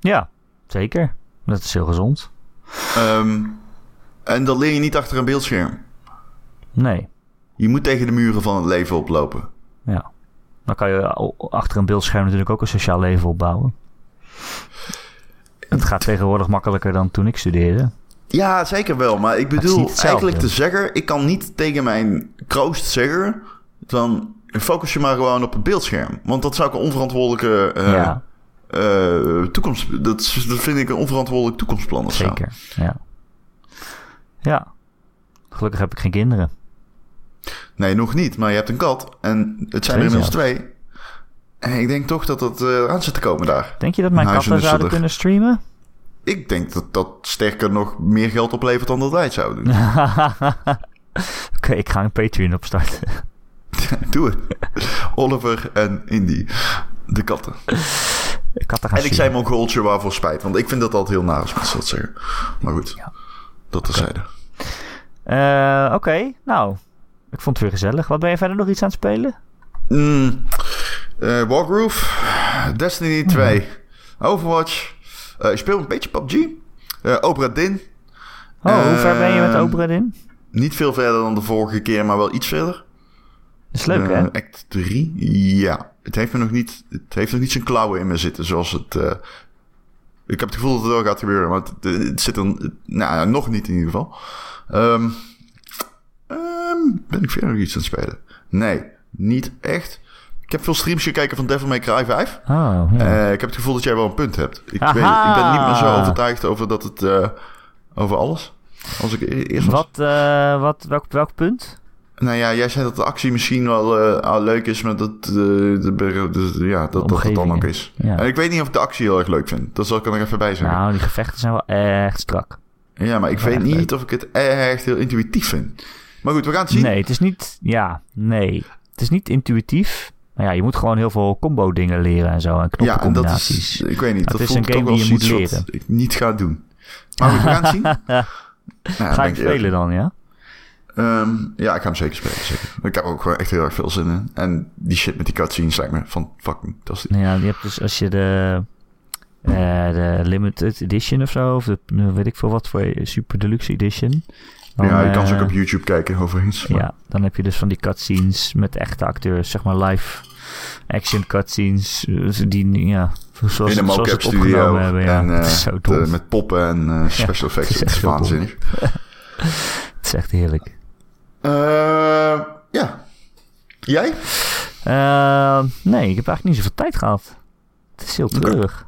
Speaker 1: Ja, zeker. Dat is heel gezond.
Speaker 2: Ehm, en dat leer je niet achter een beeldscherm.
Speaker 1: Nee,
Speaker 2: Je moet tegen de muren van het leven oplopen.
Speaker 1: ja. Dan kan je al- achter een beeldscherm natuurlijk ook een sociaal leven opbouwen. Het gaat tegenwoordig makkelijker dan toen ik studeerde.
Speaker 2: Ja, zeker wel. Maar ik
Speaker 1: is
Speaker 2: bedoel
Speaker 1: niet hetzelfde.
Speaker 2: eigenlijk te zeggen... ik kan niet tegen mijn kroost zeggen... van focus je maar gewoon op het beeldscherm. Want dat zou ik een onverantwoordelijke eh,
Speaker 1: ja,
Speaker 2: eh, toekomst... Dat, is- dat vind ik een onverantwoordelijk toekomstplan of zo.
Speaker 1: zeker. Ja. ja. Gelukkig heb ik geen kinderen.
Speaker 2: Nee, nog niet. Maar je hebt een kat. En het zijn er
Speaker 1: Twee
Speaker 2: inmiddels twee. En ik denk toch dat dat eh, aan zit te komen daar.
Speaker 1: Denk je dat mijn
Speaker 2: Een huis
Speaker 1: katten
Speaker 2: en een
Speaker 1: zouden
Speaker 2: zolder.
Speaker 1: kunnen streamen? *laughs*
Speaker 2: Ik denk dat dat sterker nog meer geld oplevert dan dat wij het zouden doen.
Speaker 1: Oké, ik ga een Patreon opstarten. *laughs*
Speaker 2: Doe het. *laughs* Oliver en Indy. De katten.
Speaker 1: Katten gaan
Speaker 2: En ik zei Mongooltje waarvoor spijt. Want ik vind dat altijd heel naar als mensen dat zeggen. Maar goed.
Speaker 1: Ja.
Speaker 2: Dat terzijde.
Speaker 1: Eh, Oké, nou. Ik vond het weer gezellig. Wat ben je verder nog iets aan het spelen?
Speaker 2: Mm, eh, Wargroove. Destiny 2. Overwatch. Eh, ik speel een beetje PUBG. Eh, Opera Din.
Speaker 1: Oh, hoe ver ben je met
Speaker 2: Ehm,
Speaker 1: Oprah in?
Speaker 2: Niet veel verder dan de vorige keer, maar wel iets verder.
Speaker 1: Is leuk,
Speaker 2: Eh,
Speaker 1: hè?
Speaker 2: Act 3. Ja. Het heeft, me nog niet, het heeft nog niet zijn klauwen in me zitten. Zoals het. eh, ik heb het gevoel dat het wel gaat gebeuren. Maar het, het zit er. Nou, ja, nog niet in ieder geval. Ehm, ehm, ben ik verder nog iets aan het spelen? Nee, niet echt. Ik heb veel streams gekeken van Devil May Cry 5.
Speaker 1: Oh, ja.
Speaker 2: Eh, ik heb het gevoel dat jij wel een punt hebt. Ik,
Speaker 1: Aha!
Speaker 2: weet, ik ben niet meer zo overtuigd over dat het... eh, over alles. Als ik e- eerst... was.
Speaker 1: wat, eh, wat, welk, welk punt?
Speaker 2: Nou ja, jij zei dat de actie misschien wel eh, al leuk is, maar dat, eh, de, de- de- ja, dat, dat het dan ook
Speaker 1: Omgevingen.
Speaker 2: is.
Speaker 1: Ja.
Speaker 2: En ik weet niet of ik de actie heel erg leuk vind. Dat zal ik er nog even bij zeggen.
Speaker 1: Nou, die gevechten zijn wel echt strak.
Speaker 2: ja, maar ik
Speaker 1: dat is
Speaker 2: weet
Speaker 1: echt
Speaker 2: niet of ik het echt heel intuïtief vind. Maar goed, we gaan het zien.
Speaker 1: Nee, het is niet... Ja, nee. Het is niet intuïtief. Maar ja, je moet gewoon heel veel combo dingen leren en zo. En
Speaker 2: Ja, en dat is...
Speaker 1: knoppencombinaties.
Speaker 2: Ik weet niet,
Speaker 1: Het
Speaker 2: dat
Speaker 1: is
Speaker 2: voelt
Speaker 1: een
Speaker 2: toch
Speaker 1: game
Speaker 2: wel
Speaker 1: die je moet
Speaker 2: zoiets wat ik niet ga doen. Maar goed, we gaan het
Speaker 1: *laughs*
Speaker 2: zien. Nou,
Speaker 1: Ga
Speaker 2: dan ben
Speaker 1: je
Speaker 2: ik
Speaker 1: hem spelen dan, ja?
Speaker 2: Ehm, ja, ik ga hem zeker spelen. Zeker. Ik heb er ook gewoon echt heel erg veel zin in. En die shit met die cutscenes lijkt me van fucking fantastisch.
Speaker 1: Nou Ja, je hebt dus als je de, eh, de limited edition of zo, of de, eh, weet ik veel wat voor eh, super deluxe edition. dan,
Speaker 2: ja, je kan ze ook
Speaker 1: eh,
Speaker 2: op YouTube kijken overigens. Maar-
Speaker 1: Ja, dan heb je dus van die cutscenes met echte acteurs, zeg maar live action cutscenes, eh, die, ja, zoals,
Speaker 2: in een
Speaker 1: zoals
Speaker 2: mocap
Speaker 1: het
Speaker 2: studio.
Speaker 1: opgenomen hebben. *laughs* Ja.
Speaker 2: En eh,
Speaker 1: het is zo dom.
Speaker 2: de- met poppen en
Speaker 1: *laughs*
Speaker 2: eh, special effects.
Speaker 1: het is
Speaker 2: Het is
Speaker 1: echt heel dom.
Speaker 2: waanzinnig.
Speaker 1: Het is echt heerlijk.
Speaker 2: Eh, ja. Jij?
Speaker 1: Eh, nee, ik heb eigenlijk niet zoveel tijd gehad. Het is heel
Speaker 2: Nou,
Speaker 1: treurig.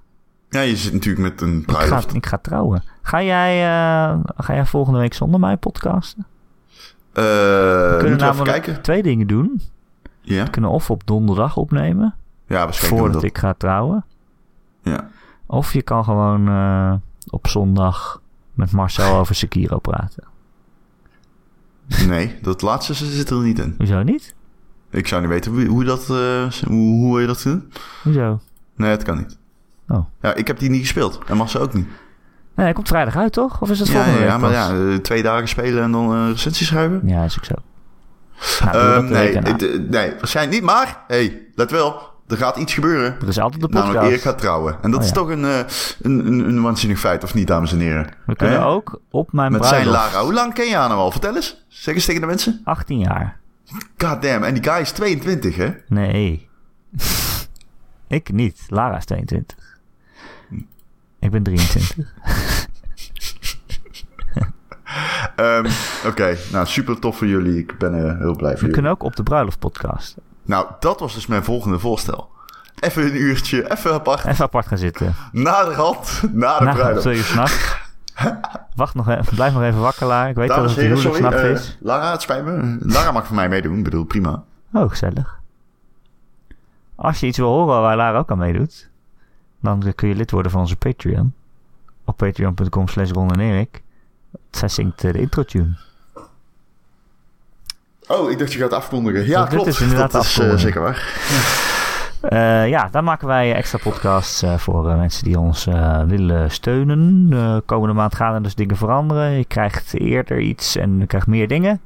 Speaker 2: Ja, je zit natuurlijk met een
Speaker 1: Ik, ga,
Speaker 2: bruiloft.
Speaker 1: ik ga trouwen. Ga jij, eh, ga jij volgende week zonder mij podcasten?
Speaker 2: Eh, moeten we even kijken?
Speaker 1: twee dingen doen.
Speaker 2: Ja,
Speaker 1: We kunnen of op donderdag opnemen,
Speaker 2: ja waarschijnlijk doen
Speaker 1: voordat
Speaker 2: we
Speaker 1: ik ga trouwen.
Speaker 2: dat. Ja.
Speaker 1: Of je kan gewoon eh, op zondag met Marcel over Sekiro praten.
Speaker 2: Nee, dat laatste zit er niet in.
Speaker 1: Hoezo niet?
Speaker 2: Ik zou niet weten hoe, hoe dat, eh, hoe, hoe wil je dat doen.
Speaker 1: Hoezo?
Speaker 2: Nee, dat kan niet.
Speaker 1: Oh.
Speaker 2: Ja, ik heb die niet gespeeld. En Massa ook niet.
Speaker 1: Nee, hij komt vrijdag uit, toch? Of is dat
Speaker 2: Ja,
Speaker 1: volgende
Speaker 2: ja,
Speaker 1: week
Speaker 2: ja, maar
Speaker 1: pas?
Speaker 2: ja, eh, twee dagen spelen en dan eh recensie schrijven.
Speaker 1: Ja, is ook zo. Nou, doe dat
Speaker 2: Ehm,
Speaker 1: de
Speaker 2: nee,
Speaker 1: week erna.
Speaker 2: het, eh, nee, waarschijnlijk niet. Maar, hey, let wel. Er gaat iets gebeuren.
Speaker 1: er is altijd de
Speaker 2: Namelijk, Erik
Speaker 1: podcast.
Speaker 2: gaat trouwen. En dat
Speaker 1: Oh,
Speaker 2: is
Speaker 1: ja.
Speaker 2: toch een, eh, een, een, een waanzinnig feit, of niet, dames en heren?
Speaker 1: We kunnen
Speaker 2: Hè?
Speaker 1: ook op mijn
Speaker 2: Met zijn
Speaker 1: bruiloft.
Speaker 2: Lara. Hoe lang ken je haar nou al? Vertel eens. Zeg eens tegen de mensen.
Speaker 1: 18 jaar.
Speaker 2: Goddamn. En die guy is 22, hè?
Speaker 1: Nee. *laughs* ik niet. Lara is 22. Ik ben 23.
Speaker 2: Ehm,
Speaker 1: *laughs*
Speaker 2: Oké, nou super tof voor jullie. Ik ben eh, heel blij voor
Speaker 1: We
Speaker 2: jullie.
Speaker 1: kunnen ook op de bruiloft podcast.
Speaker 2: Nou, dat was dus mijn volgende voorstel. Even een uurtje, even apart.
Speaker 1: Even apart gaan zitten.
Speaker 2: Na de rand, na de
Speaker 1: Nou, om
Speaker 2: bruiloft.
Speaker 1: twee uur s'nachts. Wacht nog even, blijf nog even wakker, Lara. Ik weet
Speaker 2: Dames
Speaker 1: dat
Speaker 2: en
Speaker 1: het een
Speaker 2: heren, sorry.
Speaker 1: huwelijksnacht
Speaker 2: eh,
Speaker 1: is.
Speaker 2: Lara, het spijt me. Lara mag voor mij meedoen. Ik bedoel, prima.
Speaker 1: Oh, gezellig. Als je iets wil horen waar Lara ook aan meedoet, dan eh, kun je lid worden van onze Patreon. Op patreon.com slash Ron en Erik. Zij zingt eh, de intro-tune.
Speaker 2: Oh, ik dacht je gaat afkondigen. Ja,
Speaker 1: Dat dit
Speaker 2: klopt.
Speaker 1: is inderdaad
Speaker 2: dat is eh,
Speaker 1: afkondigen.
Speaker 2: zeker waar.
Speaker 1: Eh, ja, daar maken wij extra podcasts eh, voor eh, mensen die ons eh, willen steunen. Eh, komende maand gaan er dus dingen veranderen. Je krijgt eerder iets en je krijgt meer dingen.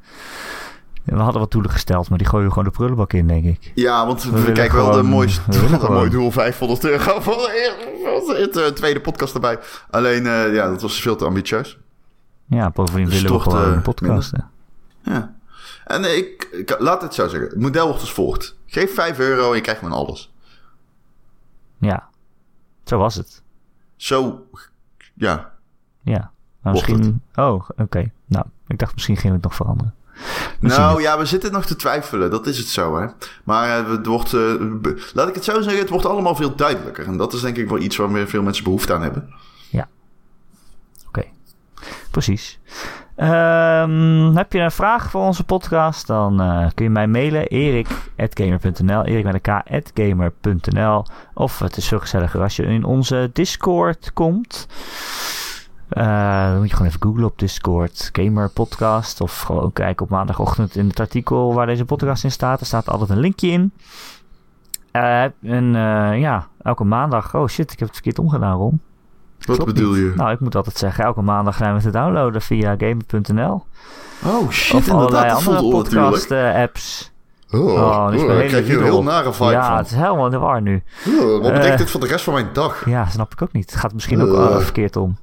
Speaker 1: We hadden wat doelen gesteld, maar die gooien we gewoon de prullenbak in, denk ik.
Speaker 2: Ja, want we,
Speaker 1: willen
Speaker 2: kijken wel *laughs* de
Speaker 1: gewoon-
Speaker 2: mooiste,
Speaker 1: we willen
Speaker 2: wat een
Speaker 1: gewoon.
Speaker 2: mooi doel 500 euro voor het eh, tweede podcast erbij. Alleen, eh, ja, dat was veel te ambitieus.
Speaker 1: Ja, bovendien
Speaker 2: Dus
Speaker 1: willen we
Speaker 2: toch,
Speaker 1: gewoon
Speaker 2: eh,
Speaker 1: podcasten.
Speaker 2: Ja. En eh, ik, ik- laat het zo zeggen. Het model wordt als volgt. Geef 5 euro en je krijgt dan alles.
Speaker 1: Ja, zo was het.
Speaker 2: Zo, ja.
Speaker 1: Ja, maar
Speaker 2: Wordt
Speaker 1: misschien... Oh, oké. Nou, ik dacht misschien gingen we het nog veranderen. We zien
Speaker 2: Nou
Speaker 1: het.
Speaker 2: ja, we zitten nog te twijfelen. Dat is het zo, hè. Maar eh, het wordt, eh, be- laat ik het zo zeggen, het wordt allemaal veel duidelijker. En dat is denk ik wel iets waar meer veel mensen behoefte aan hebben.
Speaker 1: Oké, precies. Ehm, heb je een vraag voor onze podcast? Dan eh, kun je mij mailen. erik.gamer.nl Erik met een k. at gamer.nl Of het is veel gezelliger als je in onze Discord komt. Eh, dan moet je gewoon even googlen op Discord. Gamer podcast. Of gewoon kijken op maandagochtend in het artikel waar deze podcast in staat. Er staat altijd een linkje in. Eh, en eh, ja, elke maandag. Oh shit, ik heb het verkeerd omgedaan, Ron.
Speaker 2: Wat
Speaker 1: Klopt
Speaker 2: bedoel
Speaker 1: niet.
Speaker 2: je?
Speaker 1: Nou, ik moet altijd zeggen, elke maandag zijn we te downloaden via gamer.nl.
Speaker 2: Oh shit,
Speaker 1: Of allerlei
Speaker 2: inderdaad. Dat voelt
Speaker 1: andere eh,
Speaker 2: natuurlijk.
Speaker 1: podcast-apps.
Speaker 2: Oh,
Speaker 1: Oh, dit is mijn
Speaker 2: oh, daar
Speaker 1: hele
Speaker 2: krijg je een
Speaker 1: jubel.
Speaker 2: heel nare vibe
Speaker 1: ja,
Speaker 2: van.
Speaker 1: het is helemaal in de war nu.
Speaker 2: Oh, wat betekent
Speaker 1: Eh.
Speaker 2: dit voor de rest van mijn dag?
Speaker 1: Ja, snap ik ook niet. Het gaat misschien ook
Speaker 2: Eh.
Speaker 1: wel verkeerd om.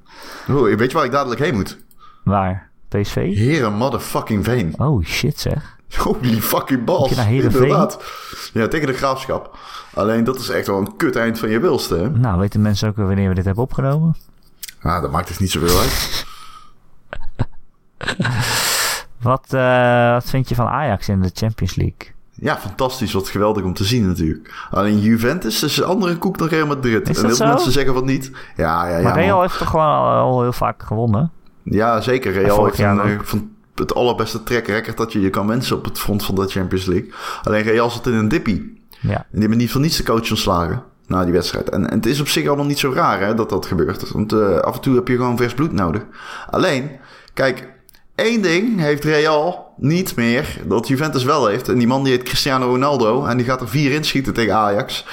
Speaker 2: Oh, weet je waar ik dadelijk heen moet?
Speaker 1: Waar? PSV?
Speaker 2: Heren motherfucking Veen. *laughs*
Speaker 1: Oh shit zeg.
Speaker 2: Holy fucking
Speaker 1: Moet
Speaker 2: balls.
Speaker 1: je naar Heerenveen?
Speaker 2: Inderdaad. Ja, tegen de graafschap. Alleen dat is echt wel een kut eind van je wilste, hè?
Speaker 1: Nou, weten mensen ook weer wanneer we dit hebben opgenomen?
Speaker 2: Ah, dat maakt dus niet zoveel uit.
Speaker 1: Wat, eh, wat vind je van Ajax in de Champions League?
Speaker 2: ja, fantastisch. Wat geweldig om te zien natuurlijk. Alleen Juventus is een andere koek dan Real Madrid.
Speaker 1: Is dat
Speaker 2: en heel veel
Speaker 1: zo?
Speaker 2: mensen zeggen van niet. Ja, ja, ja.
Speaker 1: maar Real
Speaker 2: man.
Speaker 1: heeft toch gewoon al, al heel vaak gewonnen?
Speaker 2: Ja, zeker.
Speaker 1: En
Speaker 2: Real
Speaker 1: vorig
Speaker 2: heeft
Speaker 1: jaar
Speaker 2: een,
Speaker 1: ook.
Speaker 2: eh, van het allerbeste track record dat je je kan wensen op het front van de Champions League. Alleen Real zat in een dippie.
Speaker 1: Ja.
Speaker 2: En die hebben niet van niets de coach ontslagen na die wedstrijd. En, en het is op zich allemaal niet zo raar hè, dat dat gebeurt. Want eh, af en toe heb je gewoon vers bloed nodig. Alleen, kijk, één ding heeft Real niet meer dat Juventus wel heeft. En die man die heet Cristiano Ronaldo en die gaat er vier inschieten tegen Ajax.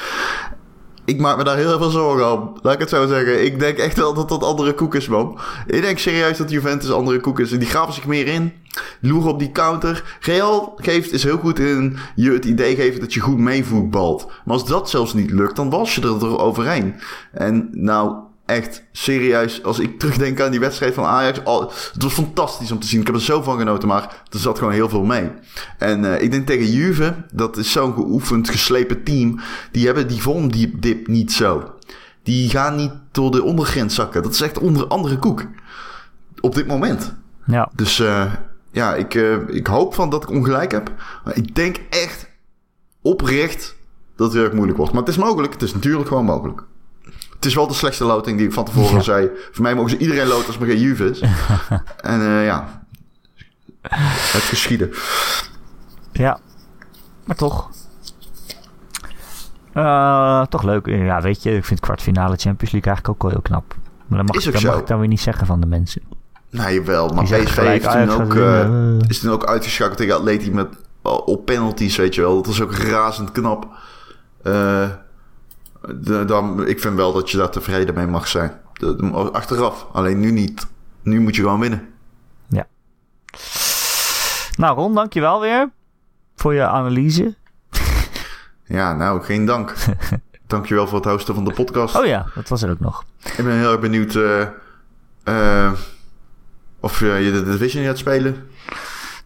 Speaker 2: Ik maak me daar heel veel zorgen om. Laat ik het zo zeggen. Ik denk echt wel dat dat andere koek is, man. Ik denk serieus dat Juventus andere koek is. En die graven zich meer in. Loeren op die counter. Real geeft, is heel goed in je het idee geven dat je goed meevoetbalt. Maar als dat zelfs niet lukt, dan was je er toch overheen. En nou, echt serieus. Als ik terugdenk aan die wedstrijd van Ajax. al- het was fantastisch om te zien. Ik heb er zo van genoten, maar er zat gewoon heel veel mee. En eh, ik denk tegen Juve, dat is zo'n geoefend, geslepen team. Die hebben die vormdip niet zo. Die gaan niet door de ondergrens zakken. Dat is echt onder andere koek. Op dit moment.
Speaker 1: Ja.
Speaker 2: Dus eh, ja, ik, eh, ik hoop van dat ik ongelijk heb. Maar ik denk echt oprecht dat het heel erg moeilijk wordt. Maar het is mogelijk. Het is natuurlijk gewoon mogelijk. Het is wel de slechtste loting die ik van tevoren
Speaker 1: Ja.
Speaker 2: zei. Voor mij mogen ze iedereen loten als maar geen Juve
Speaker 1: *laughs*
Speaker 2: is. en eh, ja, het geschieden.
Speaker 1: Ja, maar toch. Eh, toch leuk. Ja, weet je, ik vind kwartfinale Champions League eigenlijk ook wel heel knap. Maar dat mag,
Speaker 2: Is ook
Speaker 1: dat
Speaker 2: zo.
Speaker 1: mag ik dan weer niet zeggen van de mensen.
Speaker 2: Nou jawel, maar
Speaker 1: Die zeggen
Speaker 2: PSV
Speaker 1: gelijk,
Speaker 2: heeft toen
Speaker 1: Ajax gaat
Speaker 2: ook,
Speaker 1: winnen.
Speaker 2: eh,
Speaker 1: Eh.
Speaker 2: is toen ook uitgeschakeld tegen Atleti met, eh, op penalties, weet je wel. Dat was ook razend knap. Eh, de- dan, ik vind wel dat je daar tevreden mee mag zijn. De- de- achteraf, alleen nu niet. Nu moet je gewoon winnen.
Speaker 1: Nou, Ron, dankjewel weer voor je analyse.
Speaker 2: Ja, nou, geen dank. Dankjewel voor het hosten van de podcast.
Speaker 1: Oh ja, dat was er ook nog.
Speaker 2: Ik ben heel erg benieuwd eh, eh, of eh, je de Division gaat spelen.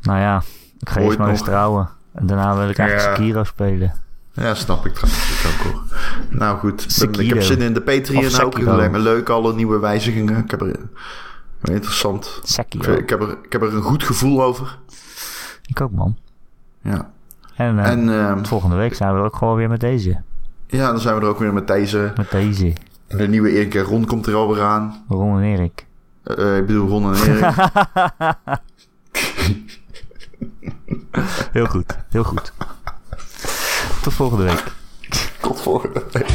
Speaker 1: Nou ja, ik ga
Speaker 2: Ooit
Speaker 1: eerst maar eens
Speaker 2: nog.
Speaker 1: trouwen. En daarna wil ik eigenlijk
Speaker 2: Ja.
Speaker 1: Sekiro spelen.
Speaker 2: Ja, snap ik trouwens ook hoor. Nou goed, dan- ik heb
Speaker 1: Sekiro.
Speaker 2: zin in de Patreon
Speaker 1: Of
Speaker 2: ook. Het
Speaker 1: Sekiro.
Speaker 2: lijkt me leuk, alle nieuwe wijzigingen. Ik heb er... Interessant. Ik,
Speaker 1: Sekiro.
Speaker 2: vind- ik, heb er, ik heb er een goed gevoel over.
Speaker 1: Ik ook, man.
Speaker 2: Ja.
Speaker 1: En, eh,
Speaker 2: En ehm,
Speaker 1: volgende week zijn we er ook gewoon weer met deze.
Speaker 2: ja, dan zijn we er ook weer met deze.
Speaker 1: Met deze.
Speaker 2: De nieuwe Erik en Ron komt er alweer aan.
Speaker 1: Ron en Erik.
Speaker 2: Eh, ik bedoel, Ron en
Speaker 1: *laughs*
Speaker 2: Erik.
Speaker 1: *laughs* Heel goed, heel goed. Tot volgende week.
Speaker 2: Tot volgende week.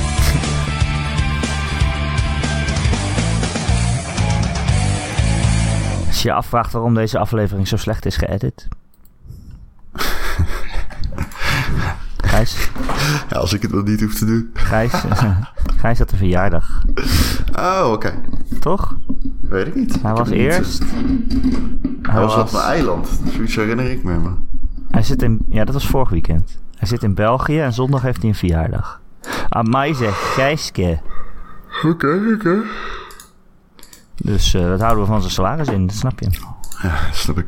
Speaker 1: Als je je afvraagt waarom deze aflevering zo slecht is geëdit. Gijs,
Speaker 2: Ja, als ik het wel niet hoef te doen.
Speaker 1: Gijs, *laughs* Gijs had een verjaardag,
Speaker 2: Oh, oké.
Speaker 1: toch?
Speaker 2: Weet ik niet. Ik
Speaker 1: Hij
Speaker 2: heb
Speaker 1: was
Speaker 2: het niet-
Speaker 1: eerst.
Speaker 2: Hij
Speaker 1: Hij,
Speaker 2: was op
Speaker 1: was,
Speaker 2: een eiland. Zoiets herinner ik me. Maar.
Speaker 1: hij zit in. Ja, dat was vorig weekend. Hij zit in België en zondag heeft hij een verjaardag. Aan mij zegt Gijske.
Speaker 2: Oké, oké.
Speaker 1: Dus eh, dat houden we van zijn salaris in, dat snap je.
Speaker 2: Ja, snap ik.